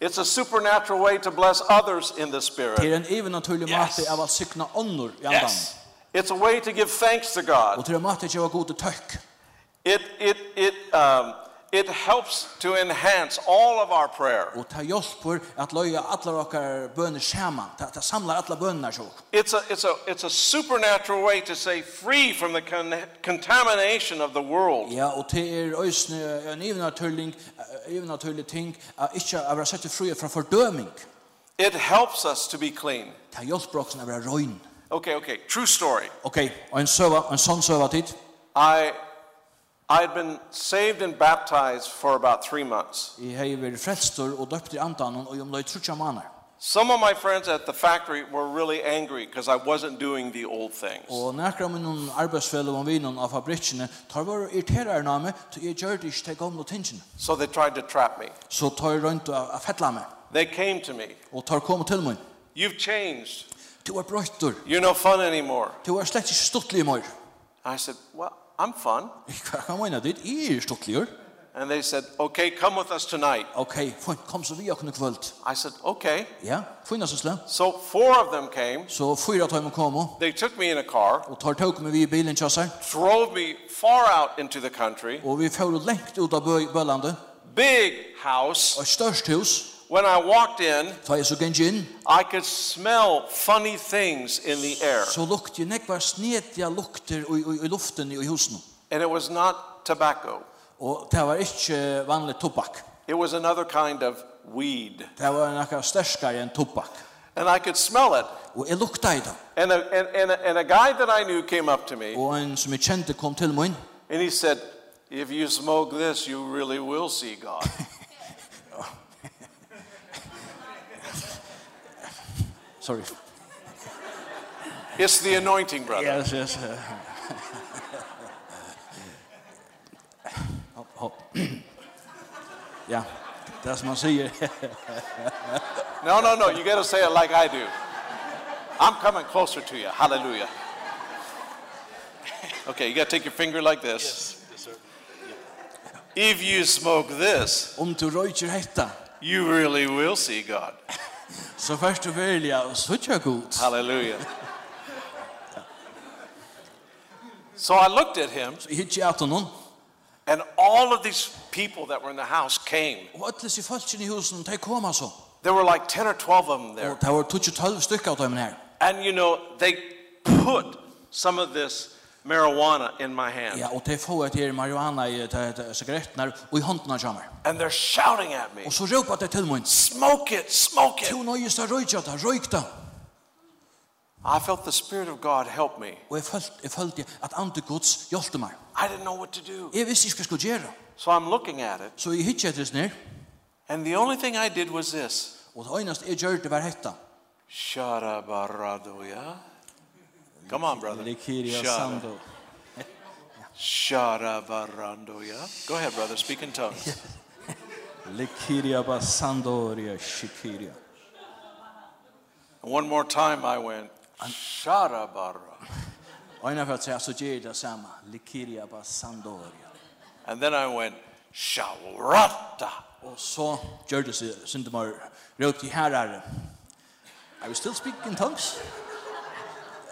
S2: It's a supernatural way to bless others in the
S3: Det
S2: Spirit.
S3: er en even naturlig
S2: Yes.
S3: måte av at sykna ånder i andan.
S2: It's a way to give thanks to
S3: Og
S2: God.
S3: til er en måte at jeg var god til tøkk.
S2: It, it, it, um, it helps to enhance all of our prayer.
S3: Og til hjelper at løye alle dere bønner sammen. Til at samlar alle bønene sjåk.
S2: It's a, it's, a, it's a supernatural way to stay free from the con- contamination of the world.
S3: Ja, og til er øsne en even naturlig, even naturlig eh, ting at ikke å være sett fri fra fordøming.
S2: It helps us to be clean.
S3: Til hjelper også å være røyn.
S2: Okay, okay, true story.
S3: Ok, og en, søva, en sånn søva tid.
S2: I, I had been saved and baptized for about three months.
S3: um Jeg har vært frelstor og døpt i andan og om løy trutja maner.
S2: Some of my friends at the factory were really angry because I wasn't doing the old things.
S3: Og nekra av minnum arbeidsfellu og vinnum av fabrikkene tar var irriterar av meg, så jeg gjør det ikke til gamle tingene.
S2: So they tried to trap me.
S3: Så tar jeg rundt og fettla meg,
S2: They came to me.
S3: og tar kom til meg.
S2: You've changed.
S3: Du er brøytter,
S2: You're no fun anymore.
S3: du er slett ikke stuttlig i mor.
S2: I said, Well, I'm fun.
S3: Hva kan mena dit? Jeg er stuttligur.
S2: And they said, Okay, come with us tonight.
S3: Ok, fint, kom så vi okken i kvöld.
S2: I said, Okay.
S3: Ja, fint så slem.
S2: So four of them came.
S3: Så fyra tar jeg kom og
S2: They took me in a car,
S3: tar tåk med vi i bilen kjassar,
S2: drove me far out into the country,
S3: og vi får lengt ut av bø- bølandet,
S2: big house.
S3: og størst hus,
S2: When I walked in,
S3: tar jeg så gengi inn,
S2: I could smell funny things in the air.
S3: så lukt jeg nekvar snedja lukter i, i, i luften i husen.
S2: And it was not tobacco,
S3: Og det var ikke vanlig tobak.
S2: it was another kind of weed.
S3: Det var nekka sterskare enn tobak.
S2: And I could smell it.
S3: Og jeg lukta i det.
S2: And a, and, and, a, and a guy that I knew came up to me
S3: Og en som jeg kjente kom til min,
S2: and he said, If you smoke this, you really will see God.
S3: sorry.
S2: it's the anointing, brother.
S3: Yes, yes. hopp, hopp. ja, det er som man sier.
S2: No, no, no. You got to say it like I do. I'm coming closer to you. Hallelujah. Okay, you got to take your finger like this. If you smoke this,
S3: Om du røyker hetta,
S2: you really will see God.
S3: så først du velja, så tja god.
S2: Hallelujah. So I looked at him,
S3: Så jeg hittir at noen,
S2: and all of these people that were in the house came.
S3: og ætlis i falskjen i husen, de kom altså.
S2: There were like 10 or 12 of them
S3: Og
S2: there.
S3: det var 12 stykker av dem her.
S2: And you know, they put some of this marijuana in my hand.
S3: Ja, og de få et her marihuana i de- de sigaretten her, og i hånden av kjammer.
S2: And they're shouting at me.
S3: Og så råpa de til min,
S2: Smoke it, smoke
S3: to
S2: it.
S3: nøyest av røyka da, røyk da.
S2: I felt the Spirit of God help me.
S3: Og jeg følte, jeg følte at andre gods hjalte meg.
S2: I didn't know what to do.
S3: Jeg visste ikke hva jeg skulle gjøre.
S2: So I'm looking at it,
S3: Så jeg hittet etter ned,
S2: and the only thing I did was this.
S3: og det eneste jeg gjør det var hetta.
S2: Sharabaradoya. Come on, brother. Shara-
S3: Sando.
S2: Sharabaradoya. Go ahead, brother. Speak in tongues.
S3: Likiria Basandoria Shikiria.
S2: And one more time I went, Sharabara.
S3: Og en av at jeg så gjør det samme. Likiria Basandoria.
S2: And then I went, Shawarata.
S3: Og så gjør det seg syndemar råd i herre. I will still speak in tongues.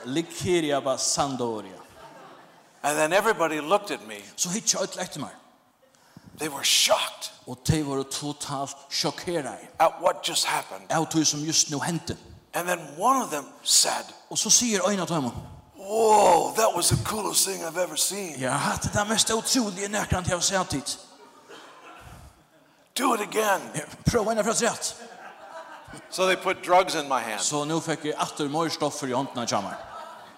S3: Likiria Basandoria.
S2: And then everybody looked at me.
S3: Så hittet jeg ut etter meg.
S2: They were shocked
S3: Og de var totalt sjokkeret
S2: at what just happened.
S3: av det som just nå hendte.
S2: And then one of them said,
S3: Og så sier øynene til dem,
S2: Whoa, that was the coolest thing I've ever seen.
S3: Ja, det er det mest utrolige nærkant jeg har sett hit.
S2: Do it again.
S3: Prøv en av fra rett.
S2: So they put drugs in my hand.
S3: Så nu fick jag åter mer stoffer i handen av Jamar.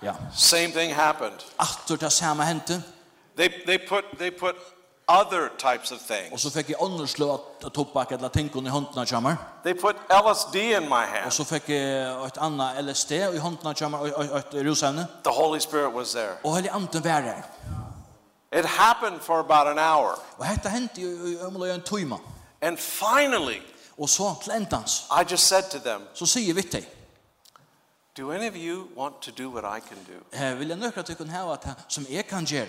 S3: Ja.
S2: Same thing happened.
S3: Åter det samma hände
S2: They, they, put, they put other types of
S3: och
S2: things.
S3: så fick jag underslå att tobak eller tinkon i handen av Jamar.
S2: They put LSD in my
S3: Och
S2: hand.
S3: så fick jag ett annat LSD i handen av Jamar och- och och ett rosämne.
S2: The Holy Spirit was there.
S3: Och hela anden var där.
S2: It happened for about an hour.
S3: Och detta hände ju i omlöj en timme.
S2: And finally,
S3: Och så till ändans
S2: I just said to them,
S3: så säger vi till
S2: Do any of you want to do what I can do?
S3: Eh, vill jag nökra tycka här att det som jag kan göra.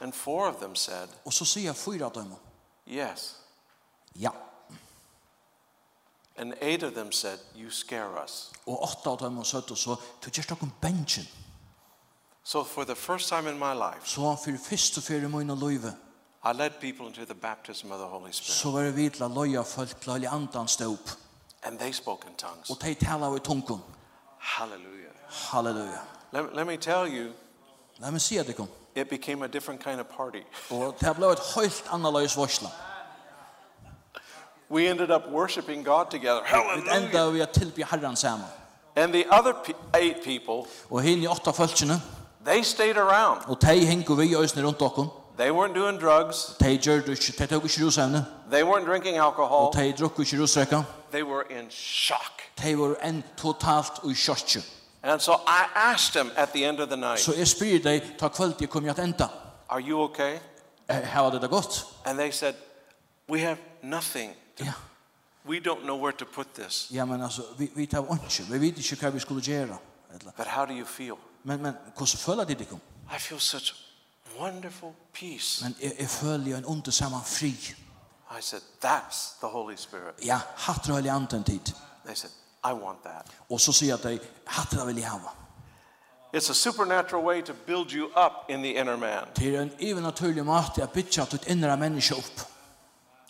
S2: And four of them said,
S3: Och så säger jag fyra av dem.
S2: Yes.
S3: Ja.
S2: And eight of them said, You scare us.
S3: Och åtta av dem sa då så du gör stocken benchen.
S2: So for the first time in my life,
S3: Så för första för mina löve.
S2: I led people into the baptism of the Holy Spirit.
S3: så var det vi til å løye folk til å løye andan stå opp.
S2: And they spoke in tongues.
S3: Og de tala i tungen.
S2: Hallelujah.
S3: Halleluja.
S2: Let, let me tell you,
S3: La meg si at det kom.
S2: it became a different kind of party.
S3: Og det ble et helt annerledes varsla.
S2: We ended up worshiping God together.
S3: Vi
S2: Hallelujah.
S3: enda vi å tilby herren sammen.
S2: And the other pe- eight people,
S3: Og hinn i åtta følgene,
S2: they stayed around.
S3: og de hengo vi øsne rundt okken.
S2: They weren't doing drugs.
S3: Tei gjørte ikke, tei tok ikke rusevne,
S2: They weren't drinking
S3: og
S2: alcohol.
S3: tei drukku ikke rusrekka.
S2: They were in shock.
S3: Tei var enn totalt ui kjørtje.
S2: And so I asked them at the end of the night,
S3: Så jeg spyr deg, ta kvöld jeg kom jeg at enda.
S2: Are you okay?
S3: Eh, Her var det da godt.
S2: And they said, We have nothing.
S3: Ja,
S2: We don't know where to put this.
S3: ja men altså, vi, vi tar ikke, vi vet ikke hva vi skulle gjøre. Eller,
S2: But how do you feel?
S3: Men, men, hvordan føler de deg om?
S2: I feel such wonderful peace.
S3: Men jeg, jeg føler jo en under saman fri.
S2: I said, That's the Holy Spirit.
S3: Ja, hatt det veldig anten tid.
S2: They said, I want that.
S3: Og så sier jeg deg, hatt det veldig hava.
S2: It's a supernatural way to build you up in the inner man.
S3: Det er en even naturlig måte at bytja ditt innre menneske opp.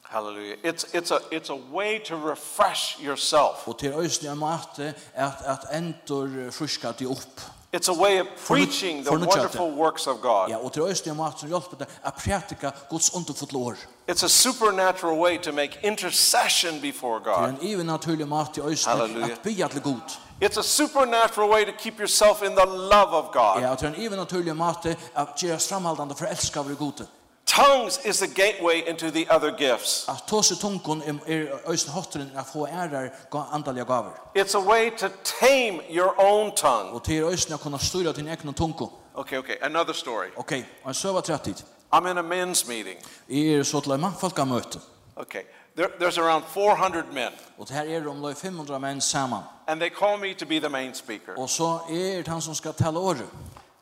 S2: Hallelujah. It's, it's, a, it's a way to refresh yourself.
S3: Og til øyne en måte at, at endur fruska deg opp.
S2: It's a way of preaching the
S3: fornøyd-
S2: wonderful works of God.
S3: Ja, og til øyne en måte som hjelper deg at prætika Guds underfotla år.
S2: It's a supernatural way to make intercession before
S3: Det
S2: God.
S3: er en even naturlig måte i øyne
S2: Halleluja.
S3: at bya til god.
S2: It's a supernatural way to keep yourself in the love of God.
S3: Ja, og det er en even naturlig måte at gjeras framhaldande for elskar vår gode.
S2: Tongues is the gateway into the other gifts.
S3: At tåse tungon er- er øyne hotteren at få ærer ga- andaliga gaver.
S2: It's a way to tame your own tongue.
S3: Og til øyne å kunne styra din egen tunko.
S2: Okay, okay, another story.
S3: Ok, og en søva trettid.
S2: I'm in a men's meeting.
S3: Jeg er så til en mannfalka møte.
S2: Okay, there, there's around 400 men,
S3: Og det her er om løy 500 menn saman.
S2: and they call me to be the main speaker.
S3: Og så er det han som skal tala året.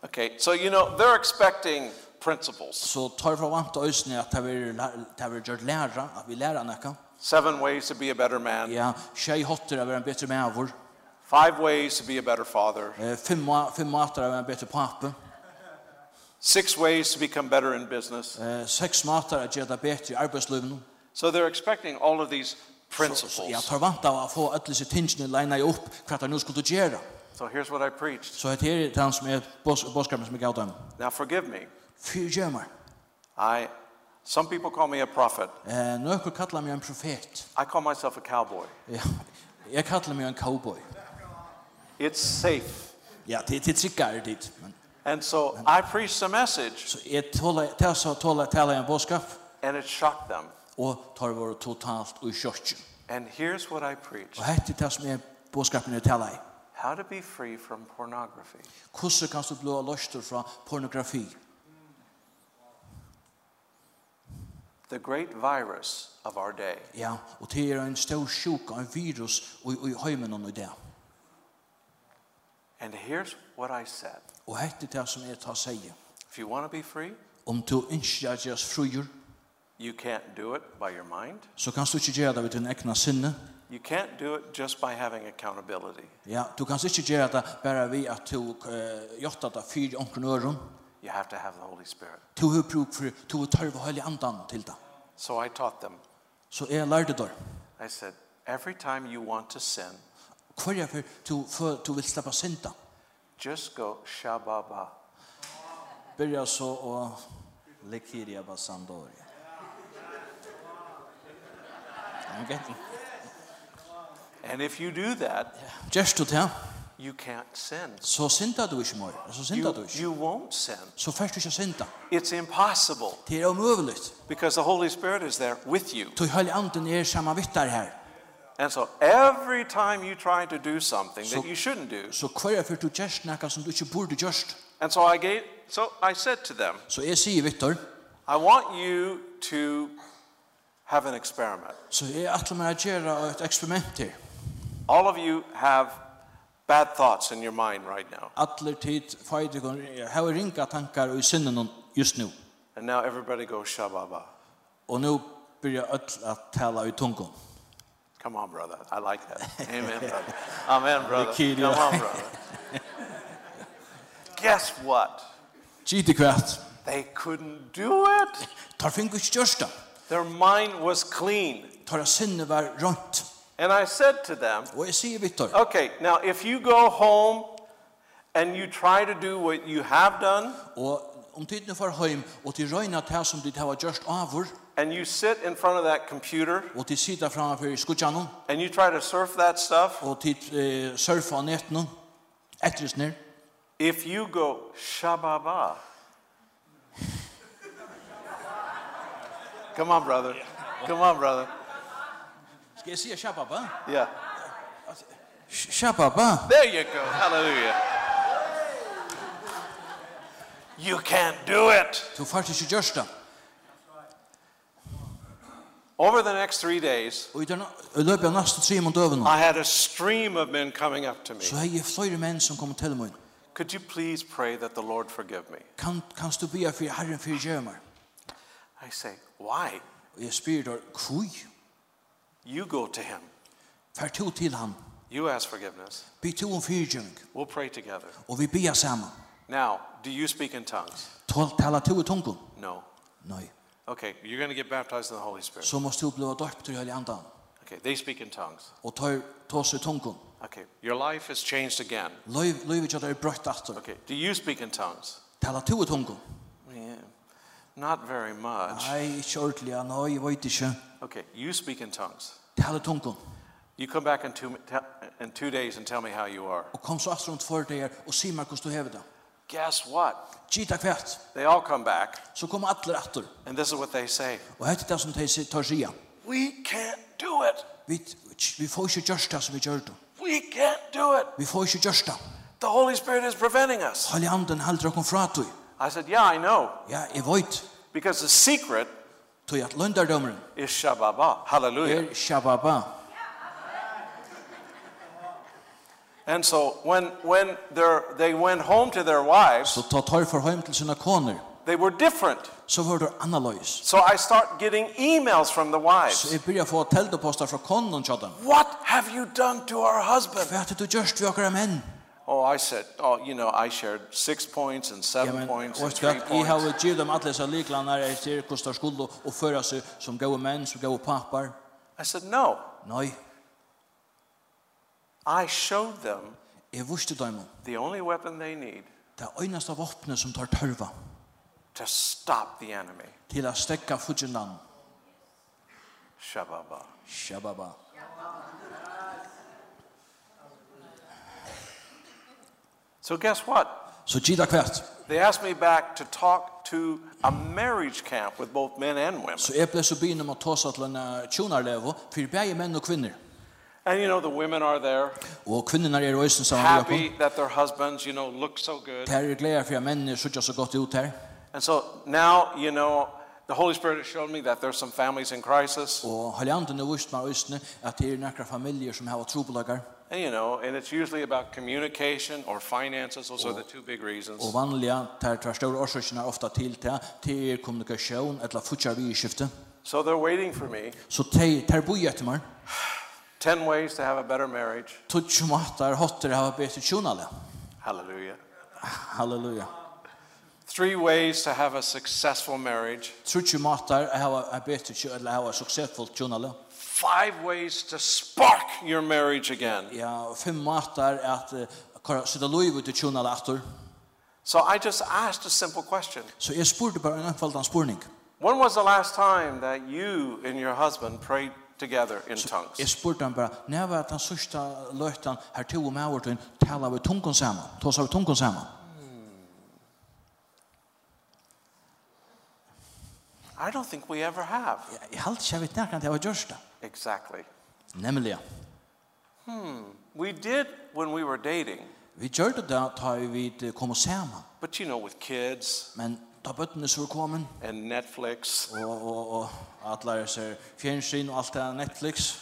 S2: Okay, so you know, they're expecting principles
S3: Så tar fra vant øysene at det er, det er gjort læra, at vi læra nekka.
S2: seven ways to be a better man,
S3: Ja, tjej hotter av en betre mævor.
S2: five ways to be a better father,
S3: Eh, Fem, ma- fem mater av en betre pape.
S2: six ways to become better in business.
S3: Eh, Seks mater av gjerne betre i arbeidsløven.
S2: So they're expecting all of these
S3: Så jeg
S2: principles.
S3: tar vant av å få alle disse tingene leina i opp hva det nu skulle gjøre.
S2: So here's what I preached.
S3: Så det er det han som er bådskapen som er gav dem.
S2: Now forgive me.
S3: Fyr gjør meg.
S2: I some people call me a prophet.
S3: Eh, Nøkker kallar meg en profet.
S2: I call myself a cowboy.
S3: Ja, jeg kallar meg en cowboy.
S2: It's safe.
S3: Ja, det det tryggare er dit. Men,
S2: And so I preached a message
S3: så jeg tåla, tåla, tåla, tåla, tåla en bådskap,
S2: and it shocked them.
S3: og tar vår totalt ur kjørtjen.
S2: And here's what I preached.
S3: Og hette det som er bådskapen jeg tåla i.
S2: How to be free from pornography.
S3: Hvordan kan du blå løster fra pornografi?
S2: The great virus of our day.
S3: Ja, og det er en stor sjuk, en virus, og, og i høymen og i det.
S2: And here's what I said.
S3: Og hette det som jeg tar seg.
S2: If you want to be free,
S3: Om du ikke er gjørs fruer,
S2: you can't do it by your mind.
S3: så kan du ikke gjøre det ved din egna sinne.
S2: You can't do it just by having accountability.
S3: Ja, du kan ikke gjøre det bare ved at du uh, gjør det fyr omkring øren.
S2: You have to have the Holy Spirit.
S3: Du har bruk for, du har tørv og høylig andan til det.
S2: So I taught them.
S3: Så jeg lærte det.
S2: I said, every time you want to sin,
S3: Hver er for du, for, du vil slippe synda.
S2: just go shababa.
S3: Byrja så og lekiria basandori. Ok.
S2: And if you do that,
S3: Gjørst du til,
S2: you can't sin.
S3: så synda du ikke mer. Så synda du
S2: You,
S3: ikke.
S2: you won't sin.
S3: Så først du ikke synda.
S2: It's impossible
S3: Det er omøveligt.
S2: because the Holy Spirit is there with you.
S3: Du høylig anden er samme vittar her.
S2: And so every time you try to do something
S3: So-
S2: that you shouldn't do.
S3: Så hver er for du gjørst nekka som du ikke burde gjørst.
S2: And so I gave so I said to them,
S3: Så jeg sier, Viktor,
S2: I want you to have an experiment.
S3: så jeg atler meg å gjøre et eksperiment her.
S2: All of you have bad thoughts in your mind right now.
S3: Atler tid, feidigon, jeg har ringa tankar og i sinnen just nu.
S2: And now everybody goes shababa.
S3: Og nu byrjar öll at tala i tungon.
S2: Come on, brother. I like that. Amen, brother. Amen, brother.
S3: kid,
S2: Come
S3: yeah.
S2: on, brother. Guess what?
S3: Giti kvært.
S2: They couldn't do it.
S3: Tar fingu stjørsta.
S2: Their mind was clean.
S3: Tar sinne var rønt.
S2: And I said to them,
S3: Og jeg sier Viktor,
S2: okay, now if you go home and you try to do what you have done
S3: og om tid nu far heim og til røyna tær som dit hava gjørst avur
S2: and you sit in front of that computer
S3: og til sita framfor skutjanon
S2: and you try to surf that stuff,
S3: og til eh, surfa á netnum etrisner
S2: if you go shababa, Come on, brother. Come on, brother.
S3: Skal jeg si kjær pappa?
S2: Yeah.
S3: Kjær pappa?
S2: There you go. Hallelujah. You can't do it.
S3: Du fart ikke gjørst det.
S2: Over the next three days,
S3: Og i den- i løpet av nesten tre mot døven
S2: I had a stream of men coming up to me.
S3: så har jeg flere menn som kommer til meg.
S2: Could you please pray that the Lord forgive me?
S3: Kan, kan du be for Herren for gjør meg?
S2: I say, Why?
S3: Og jeg spyr der, hvor?
S2: You go to him.
S3: Fær to til han.
S2: You ask forgiveness.
S3: Be to om fyrgjøring.
S2: We'll pray together.
S3: Og vi ber sammen.
S2: Now, do you speak in tongues?
S3: Tal- Tala to i tungen.
S2: No.
S3: Nei.
S2: Okay, you're going to get baptized in the Holy Spirit.
S3: Så måst du bli døpt til Hellig Andan.
S2: Okay, they speak in tongues.
S3: Og tar tås i tungen.
S2: Okay, your life is changed again.
S3: Løyv løyv ikke at det er brøtt atter.
S2: Okay, do you speak in tongues?
S3: Tala to i tungen.
S2: Yeah, not very much.
S3: Nei, ikke ordentlig. ja, Nei, jeg vet ikke.
S2: Okay, you speak in tongues.
S3: Tala tungen.
S2: You come back in two, te- in two days and tell me how you are.
S3: Og kom så atter om tvær dager og si meg hvordan du hever det.
S2: Guess what?
S3: Gita kvært.
S2: They all come back,
S3: Så kommer atler atter.
S2: and this is what they say
S3: Og er hette det som de se- tar sia.
S2: We can't do it.
S3: Vi, vi får ikke gjørst det som vi gjør det.
S2: We can't do it.
S3: Vi får ikke gjørst det.
S2: The Holy Spirit is preventing us.
S3: Hellig Anden halter okken fra til.
S2: I said, Yeah, I know.
S3: Ja, jeg vet.
S2: Because the secret
S3: Tog at løndardommeren
S2: is Shabbat. Hallelujah.
S3: er Shababa.
S2: And so when, when their- they went home to their wives,
S3: Så ta tar for heim til sine koner.
S2: they were different.
S3: Så var det annerledes.
S2: So I start getting emails from the
S3: Så
S2: wives.
S3: jeg begynner å få telteposter fra konen til dem.
S2: What have you done to our husband?
S3: Hva er det du gjørst vi akkurat menn?
S2: Oh, I said, oh, you know, I shared six points and
S3: Ja,
S2: seven
S3: men,
S2: points and
S3: vet
S2: three
S3: du, jeg har
S2: points.
S3: givet dem alle disse liklene her, jeg ser hvordan det skulle å føre seg som gode menn, som gode papper.
S2: I said, no,
S3: Nei,
S2: I showed them
S3: jeg visste dem.
S2: the only weapon they need
S3: Det er øyneste våpenet som tar tørva
S2: to stop the enemy.
S3: til å stekke fudgendan.
S2: Shabbat.
S3: Shababa.
S2: So guess what?
S3: Så gida kvært.
S2: They asked me back to talk to a marriage camp with both men and women.
S3: Så jeg ble så begynner med å ta seg til en eh, tjonarlevo, for begge menn og kvinner.
S2: And you know, the women are there.
S3: Og kvinnerne er øyne sammen med
S2: happy
S3: Jakob.
S2: that their husbands, you know, look so good.
S3: Det her er glede for at mennene sitter så godt ut her.
S2: And so now, you know, the Holy Spirit has shown me that there's some families in crisis.
S3: Og haljanten er vist med øyne at det er nekra familier som har trobelagar.
S2: And, you know, and it's usually about communication or finances. Those are the two big reasons.
S3: Og vanliga, der tar større årsøkene ofta til til, til er kommunikasjon, eller futjar vi i skifte.
S2: So they're waiting for me.
S3: Så ter, ter boi etter meg,
S2: 10 ways to have a better marriage.
S3: tutsi matar hotter hava betur tjonale.
S2: Hallelujah.
S3: Halleluja.
S2: Three ways to have a successful marriage.
S3: Tutsi matar hava betur tjonale, eller hava suksessfullt tjonale.
S2: Five ways to spark your marriage again.
S3: Ja, og fem matar er at uh, sitte loiv ut i tjonale atur.
S2: So I just asked a simple question.
S3: Så jeg spurte bare en anfaldan spurning.
S2: When was the last time that you and your husband prayed together in tongues?
S3: Jeg spurte han bare, når var den sørste løytan her to og med året, taler vi tungen sammen, tåser vi tungen sammen.
S2: I don't think we ever have.
S3: Jeg, jeg halte ikke jeg vet nærkant jeg var gjørst det.
S2: Exactly.
S3: Nemlig,
S2: We did when we were dating,
S3: vi gjør det da, da vi eh, kom sammen,
S2: but you know, with kids
S3: men da bøttene så kommet,
S2: and Netflix,
S3: og, og, og atler ser fjernsyn og alt det her Netflix,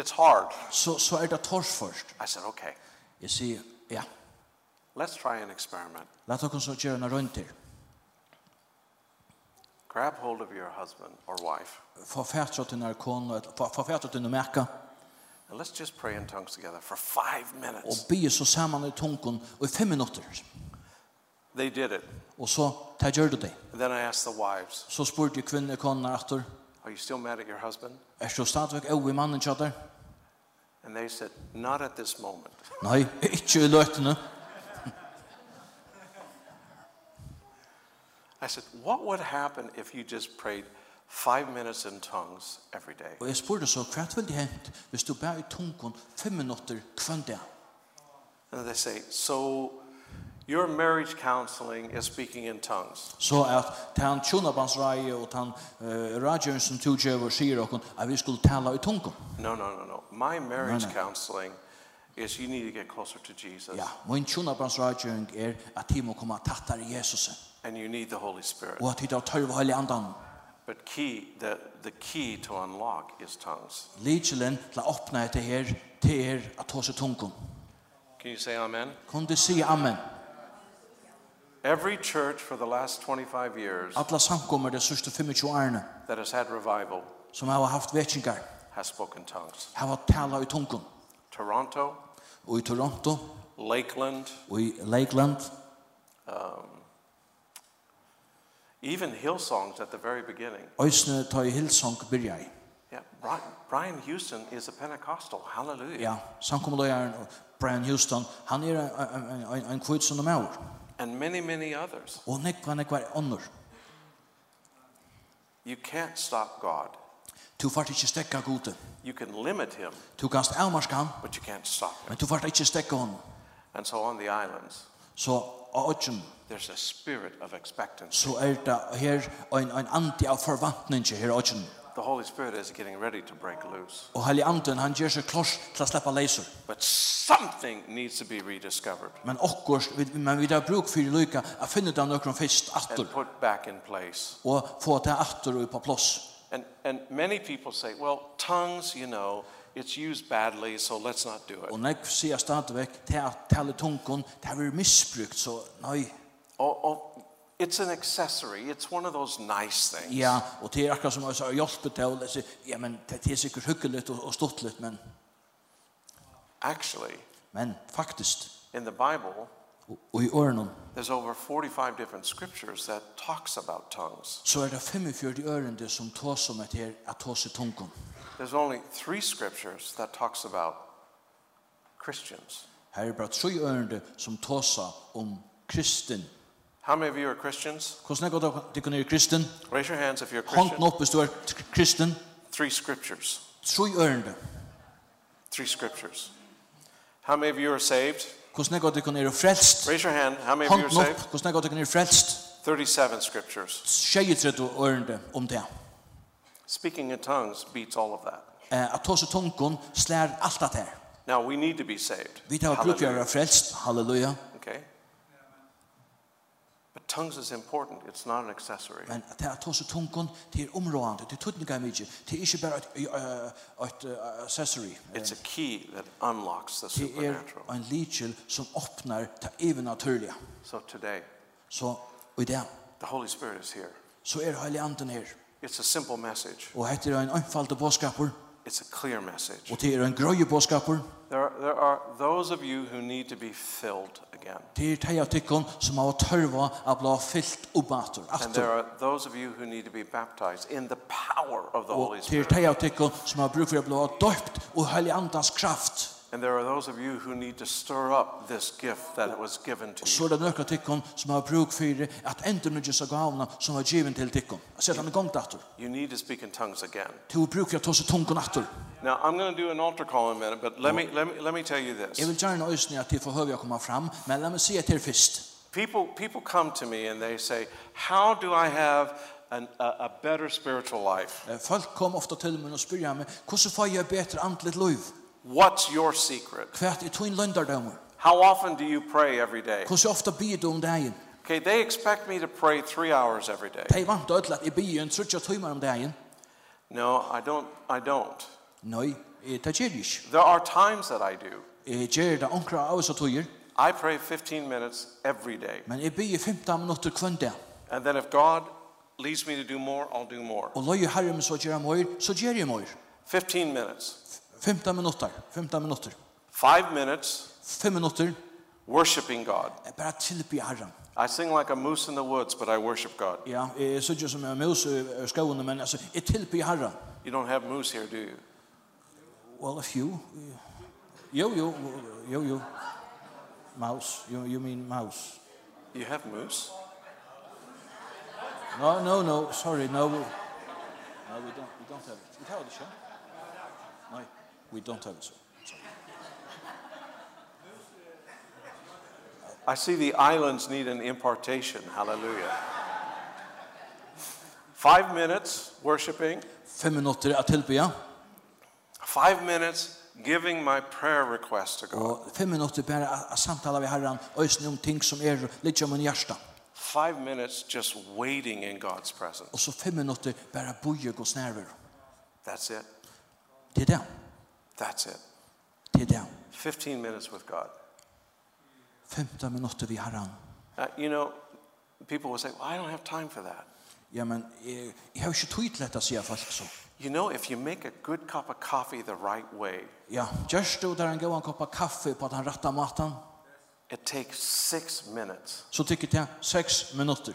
S2: it's hard.
S3: så, så er det tors først.
S2: I said, okay,
S3: Jeg sier, ja,
S2: let's try an experiment.
S3: la dere så gjøre noe rundt her.
S2: Grab hold of your husband or wife,
S3: Få fætra til narkon, få fætra til numeka,
S2: and let's just pray in tongues together for five
S3: og
S2: minutes.
S3: bygge så sammen i tungen, og i fem minutter.
S2: They did it.
S3: Og så, det gjør du det.
S2: And then I asked the wives,
S3: Så spurte jeg kvinner konar aftur,
S2: are you still mad at your husband?
S3: er du stadigvæk over mannen tjadar?
S2: And they said, not at this moment.
S3: Nei, er ikke i løtene.
S2: I said, what would happen if you just prayed five minutes in tongues every day?
S3: Og jeg spurte så, hva vil det hent hvis du bærer i tungen fem minutter kvann det?
S2: And they say, so Your marriage counseling is speaking in tongues.
S3: Så at tan tjonabansraie og tan uh, radjøren som tog over sier okkur at vi skulle tala i tungum.
S2: No, no, no, no. My marriage
S3: no.
S2: counseling is you need to get closer to Jesus
S3: Ja, min tjonabansraie er at de må komme tattar i Jesus
S2: and you need the Holy Spirit.
S3: og at de tar tørva heilig andan.
S2: But key the the key to unlock is tongues.
S3: Lidkjelen til å åpna etter her til er at ta seg tungum.
S2: Can you say amen?
S3: Kun du si amen?
S2: Every church for the last 25 years
S3: Alla samkommer de sørste 25 årene
S2: that has had revival
S3: som har haft vetsingar
S2: has spoken tongues.
S3: har tala i tungum.
S2: Toronto,
S3: Og i Toronto,
S2: Lakeland,
S3: og i Lakeland,
S2: even Hillsongs at the very beginning.
S3: Øysne tar i Hillsong byrja i.
S2: Yeah, Brian, Brian Houston is a Pentecostal. Hallelujah.
S3: Ja, samkommeløyeren Brian Houston, han er en, en, en, en kvitt som er maur.
S2: And many, many others.
S3: Og nekva, nekva er ånder.
S2: You can't stop God.
S3: Du fart ikke stekka gode.
S2: You can limit him,
S3: Du kanst avmarska han,
S2: but you can't stop him.
S3: men du fart ikke stekka honom.
S2: And so on the islands,
S3: Så av åkken,
S2: there's a spirit of expectancy.
S3: så er det her en, en anti av forvantning her åkken.
S2: The Holy Spirit is getting ready to break loose.
S3: Og Hellig Anden, han gjør seg klars til å slippe leiser.
S2: But something needs to be rediscovered
S3: Men okkurs, vi- men vi har bruk for lykke å finne den nøkron først
S2: and
S3: atter,
S2: put back in place.
S3: og få det atter og på plass.
S2: And, and many people say, well, tongues, you know, it's used badly, so let's not do
S3: Og
S2: it.
S3: når jeg sier stadigvæk til at tale tungen, det er misbrukt, så nei,
S2: Oh, oh, it's an accessory. It's one of those nice things.
S3: ja, og det er akkurat som jeg har hjulpet til, og jeg sier, ja, men det det er sikkert hyggelig og, og stått litt, men,
S2: Actually,
S3: men faktisk,
S2: in the Bible,
S3: og, og i ørene,
S2: There's over 45 different scriptures that talks about tongues.
S3: så er det 45 ørende som tås om etter um at tås i tungen.
S2: There's only 3 scriptures that talks about Christians.
S3: Her er bare tre ørende som tåsa om kristen.
S2: How many of you are Christians?
S3: Hvordan er det at du kan gjøre kristen?
S2: Raise your hands if you're a
S3: Hånden
S2: Christian.
S3: opp hvis du er t- kristen.
S2: 3 scriptures.
S3: Tre ørende.
S2: 3 scriptures. How many of you are saved?
S3: Hvordan er det at du kan gjøre frelst?
S2: Raise your hand. How many of you are
S3: Hånden opp.
S2: saved?
S3: Hvordan er det at du kan gjøre frelst?
S2: 37 scriptures.
S3: 23 ørende um om det.
S2: Speaking in tongues beats all of that.
S3: Eh, at tåse tungen slær alt det her.
S2: Now we need to be saved.
S3: Vi tar bruk for å
S2: Hallelujah.
S3: være frelst. Halleluja.
S2: Okay. But tongues is important. It's not an accessory.
S3: Men at det at tåse tungen, det er områdende, det er tøtninga mye. Det er ikke bare et, eh, et eh, accessory. Eh,
S2: It's a key that unlocks the
S3: Det er
S2: supernatural.
S3: en lidsel som åpner det even naturlige.
S2: So today,
S3: Så og i det,
S2: the Holy Spirit is here.
S3: så er Heilig Anden her.
S2: It's a simple message.
S3: Og hette er en anfalte bådskaper,
S2: It's a clear message.
S3: og det er en grøye bådskaper.
S2: There are, there are those of you who need to be filled again.
S3: Det er teg av tikkun som har tørva av bli fyllt opp atter.
S2: And there
S3: atter.
S2: are those of you who need to be baptized in the power of the
S3: Og
S2: Holy
S3: det er
S2: Spirit.
S3: teg av tikkun som har bruk for å bli døpt og Heilig Andans kraft.
S2: And there are those of you who need to stir up this gift that was given to you.
S3: Så er det nøkka tikkun som har bruk for at enten nødja seg gavna som har givet til tikkun. Jeg ser han i gang atter.
S2: You need to speak in tongues again.
S3: Du bruk for å ta seg tungun atter.
S2: Now, I'm going to do an altar call in a minute, but let me, let me, let me tell you
S3: Jeg
S2: this.
S3: vil gjerne øyne at de får høyre å komme fram, men la meg si etter først.
S2: People, people come to me and they say, How do I have an, a, a better spiritual life?
S3: Eh, Folk kom ofta til meg og spyrja meg, hvordan får jeg betre andlet liv?
S2: What's your secret?
S3: Hva er tog en løndardømmer?
S2: How often do you pray every day?
S3: Hvordan ofta um byr du om dagen?
S2: Okay, they expect me to pray three hours every day.
S3: De vant ødel at jeg byr en trutja tøymer om dagen.
S2: No, I don't. I don't.
S3: Nei, eh, det gjør jeg ikke.
S2: There are times that I do.
S3: Jeg gjør det omkra av oss og tøyer,
S2: I pray 15 minutes every day.
S3: men jeg byr 15 minutter kvann dag.
S2: And then if God leads me to do more, I'll do more.
S3: Og løy herre med så gjør jeg møyr, så gjør jeg møyr.
S2: 15 minutes.
S3: 15 minutter, 15 minutter,
S2: Five minutes
S3: 5 minutter,
S2: worshiping God.
S3: jeg bare tilby herren.
S2: I sing like a moose in the woods, but I worship God.
S3: Ja, jeg sier ikke som jeg møs i skoene, men altså, jeg tilby herren.
S2: You don't have moose here, do you?
S3: Well, a few. Jo, jo, jo, jo. Mouse. You, you mean mouse.
S2: You have moose?
S3: No, no, no. Sorry, no. No, we don't, we don't have it. We have it, sure? No, we don't have it, sir. Sorry.
S2: I see the islands need an impartation. Hallelujah. Five minutes worshiping,
S3: Fem minutter at tilbya,
S2: five minutes giving my prayer request to God,
S3: og fem minutter bare at- at samtala vi herran, øysene om ting som er litt om en hjärsta.
S2: five minutes just waiting in God's presence.
S3: Og så fem minutter bare boje og snerver.
S2: That's it.
S3: Det er det.
S2: That's it.
S3: Det er det.
S2: 15 minutes with God.
S3: Femta minutter vi herran.
S2: Uh, you know, people will say, well, I don't have time for that.
S3: Ja, men jeg, jeg har jo ikke tid til dette, sier folk så.
S2: You know, if you make a good cup of coffee the right way,
S3: Ja, gjørst du der en god kopp av kaffe på den rette maten,
S2: it takes six minutes.
S3: så tykker det seks minutter.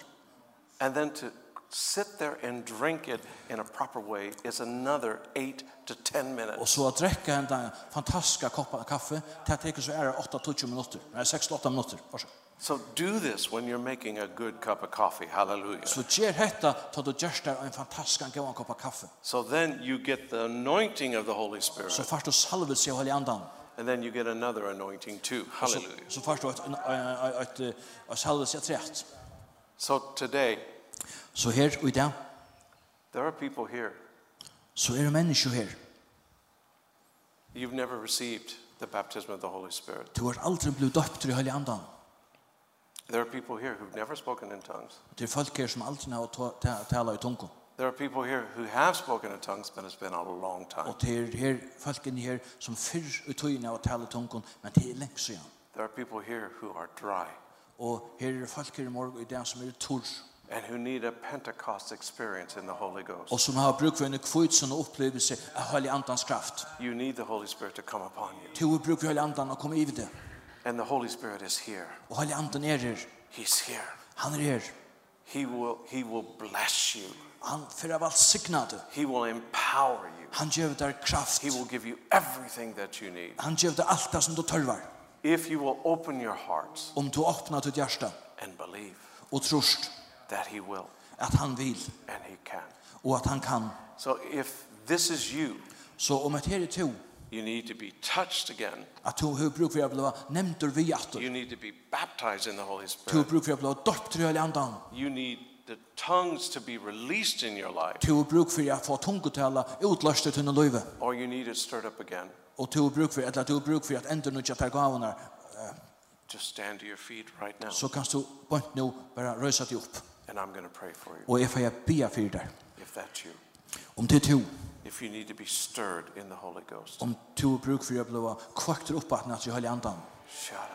S2: And then to sit there and drink it in a proper way is another eight to 10
S3: Og
S2: minutes.
S3: så å drekke en den fantastiske kopp av kaffe, det tykker så er det 8-20 minutter. Nei, 6-8 minutter. Varsågod.
S2: So do this when you're making a good cup of coffee. Hallelujah.
S3: Så gjør dette til du gjørst der en fantastisk god kopp av kaffe.
S2: So then you get the anointing of the Holy Spirit,
S3: Så først du salvelse og hellig andan.
S2: and then you get another anointing too.
S3: Og Så,
S2: Hallelujah.
S3: så først du et, et, et, et, et salvelse og trett.
S2: So today,
S3: Så her og i dag,
S2: there are people here
S3: så er det mennesker her.
S2: you've never received the baptism of the Holy Spirit.
S3: Du har aldri blitt døpt i hellig andan.
S2: There are people here who've never spoken in tongues.
S3: Det er folk her som aldri har ta- ta- tala i tungo.
S2: There are people here who have spoken in tongues, but it's been a long time.
S3: Og det er her, folk inni her som fyrr i tøyene av tala i tungon, men det er lengt siden.
S2: There are people here who are dry
S3: Og her er folk her i morgen i dag som er torr,
S2: and who need a Pentecost experience in the Holy Ghost.
S3: og som har bruk for en kvitsen og opplevelse av hellig andans kraft.
S2: You need the Holy Spirit to come upon you.
S3: Du har bruk for hellig andan og komme i det.
S2: And the Holy Spirit is here.
S3: Og hellig andan er her.
S2: He's here.
S3: Han er her.
S2: He will, he will bless you.
S3: Han fyrir av alt signade.
S2: He will empower you.
S3: Han gjev der kraft.
S2: He will give you everything that you need.
S3: Han gjev der alt det som du tørvar.
S2: If you will open your hearts
S3: Om du åpnar ditt hjärsta
S2: and believe
S3: og trust
S2: that He will
S3: at han vil
S2: and He can.
S3: og at han kan.
S2: So if this is you,
S3: Så om et her er to,
S2: you need to be touched again.
S3: at du har bruk for å bli nevnt vi atter.
S2: You need to be baptized in the Holy
S3: Du har
S2: Spirit.
S3: bruk for å bli døpt i Hellig Andan.
S2: You need the tongues to be released in your life,
S3: Du har bruk for å få tungetale utløst til noe løyve.
S2: or you need it stirred up again.
S3: Og du har bruk for, eller du har bruk for at enda nødja per gavene,
S2: Just stand to your feet right now,
S3: så kan du bort nå bare røysa deg opp.
S2: and I'm going to pray for you
S3: Og jeg får bia for deg.
S2: if that's you.
S3: Om det er to,
S2: If you need to be stirred in the Holy Ghost.
S3: um om du har bruk for å bli kvakter opp at nødja Hellig Andan.
S2: Shara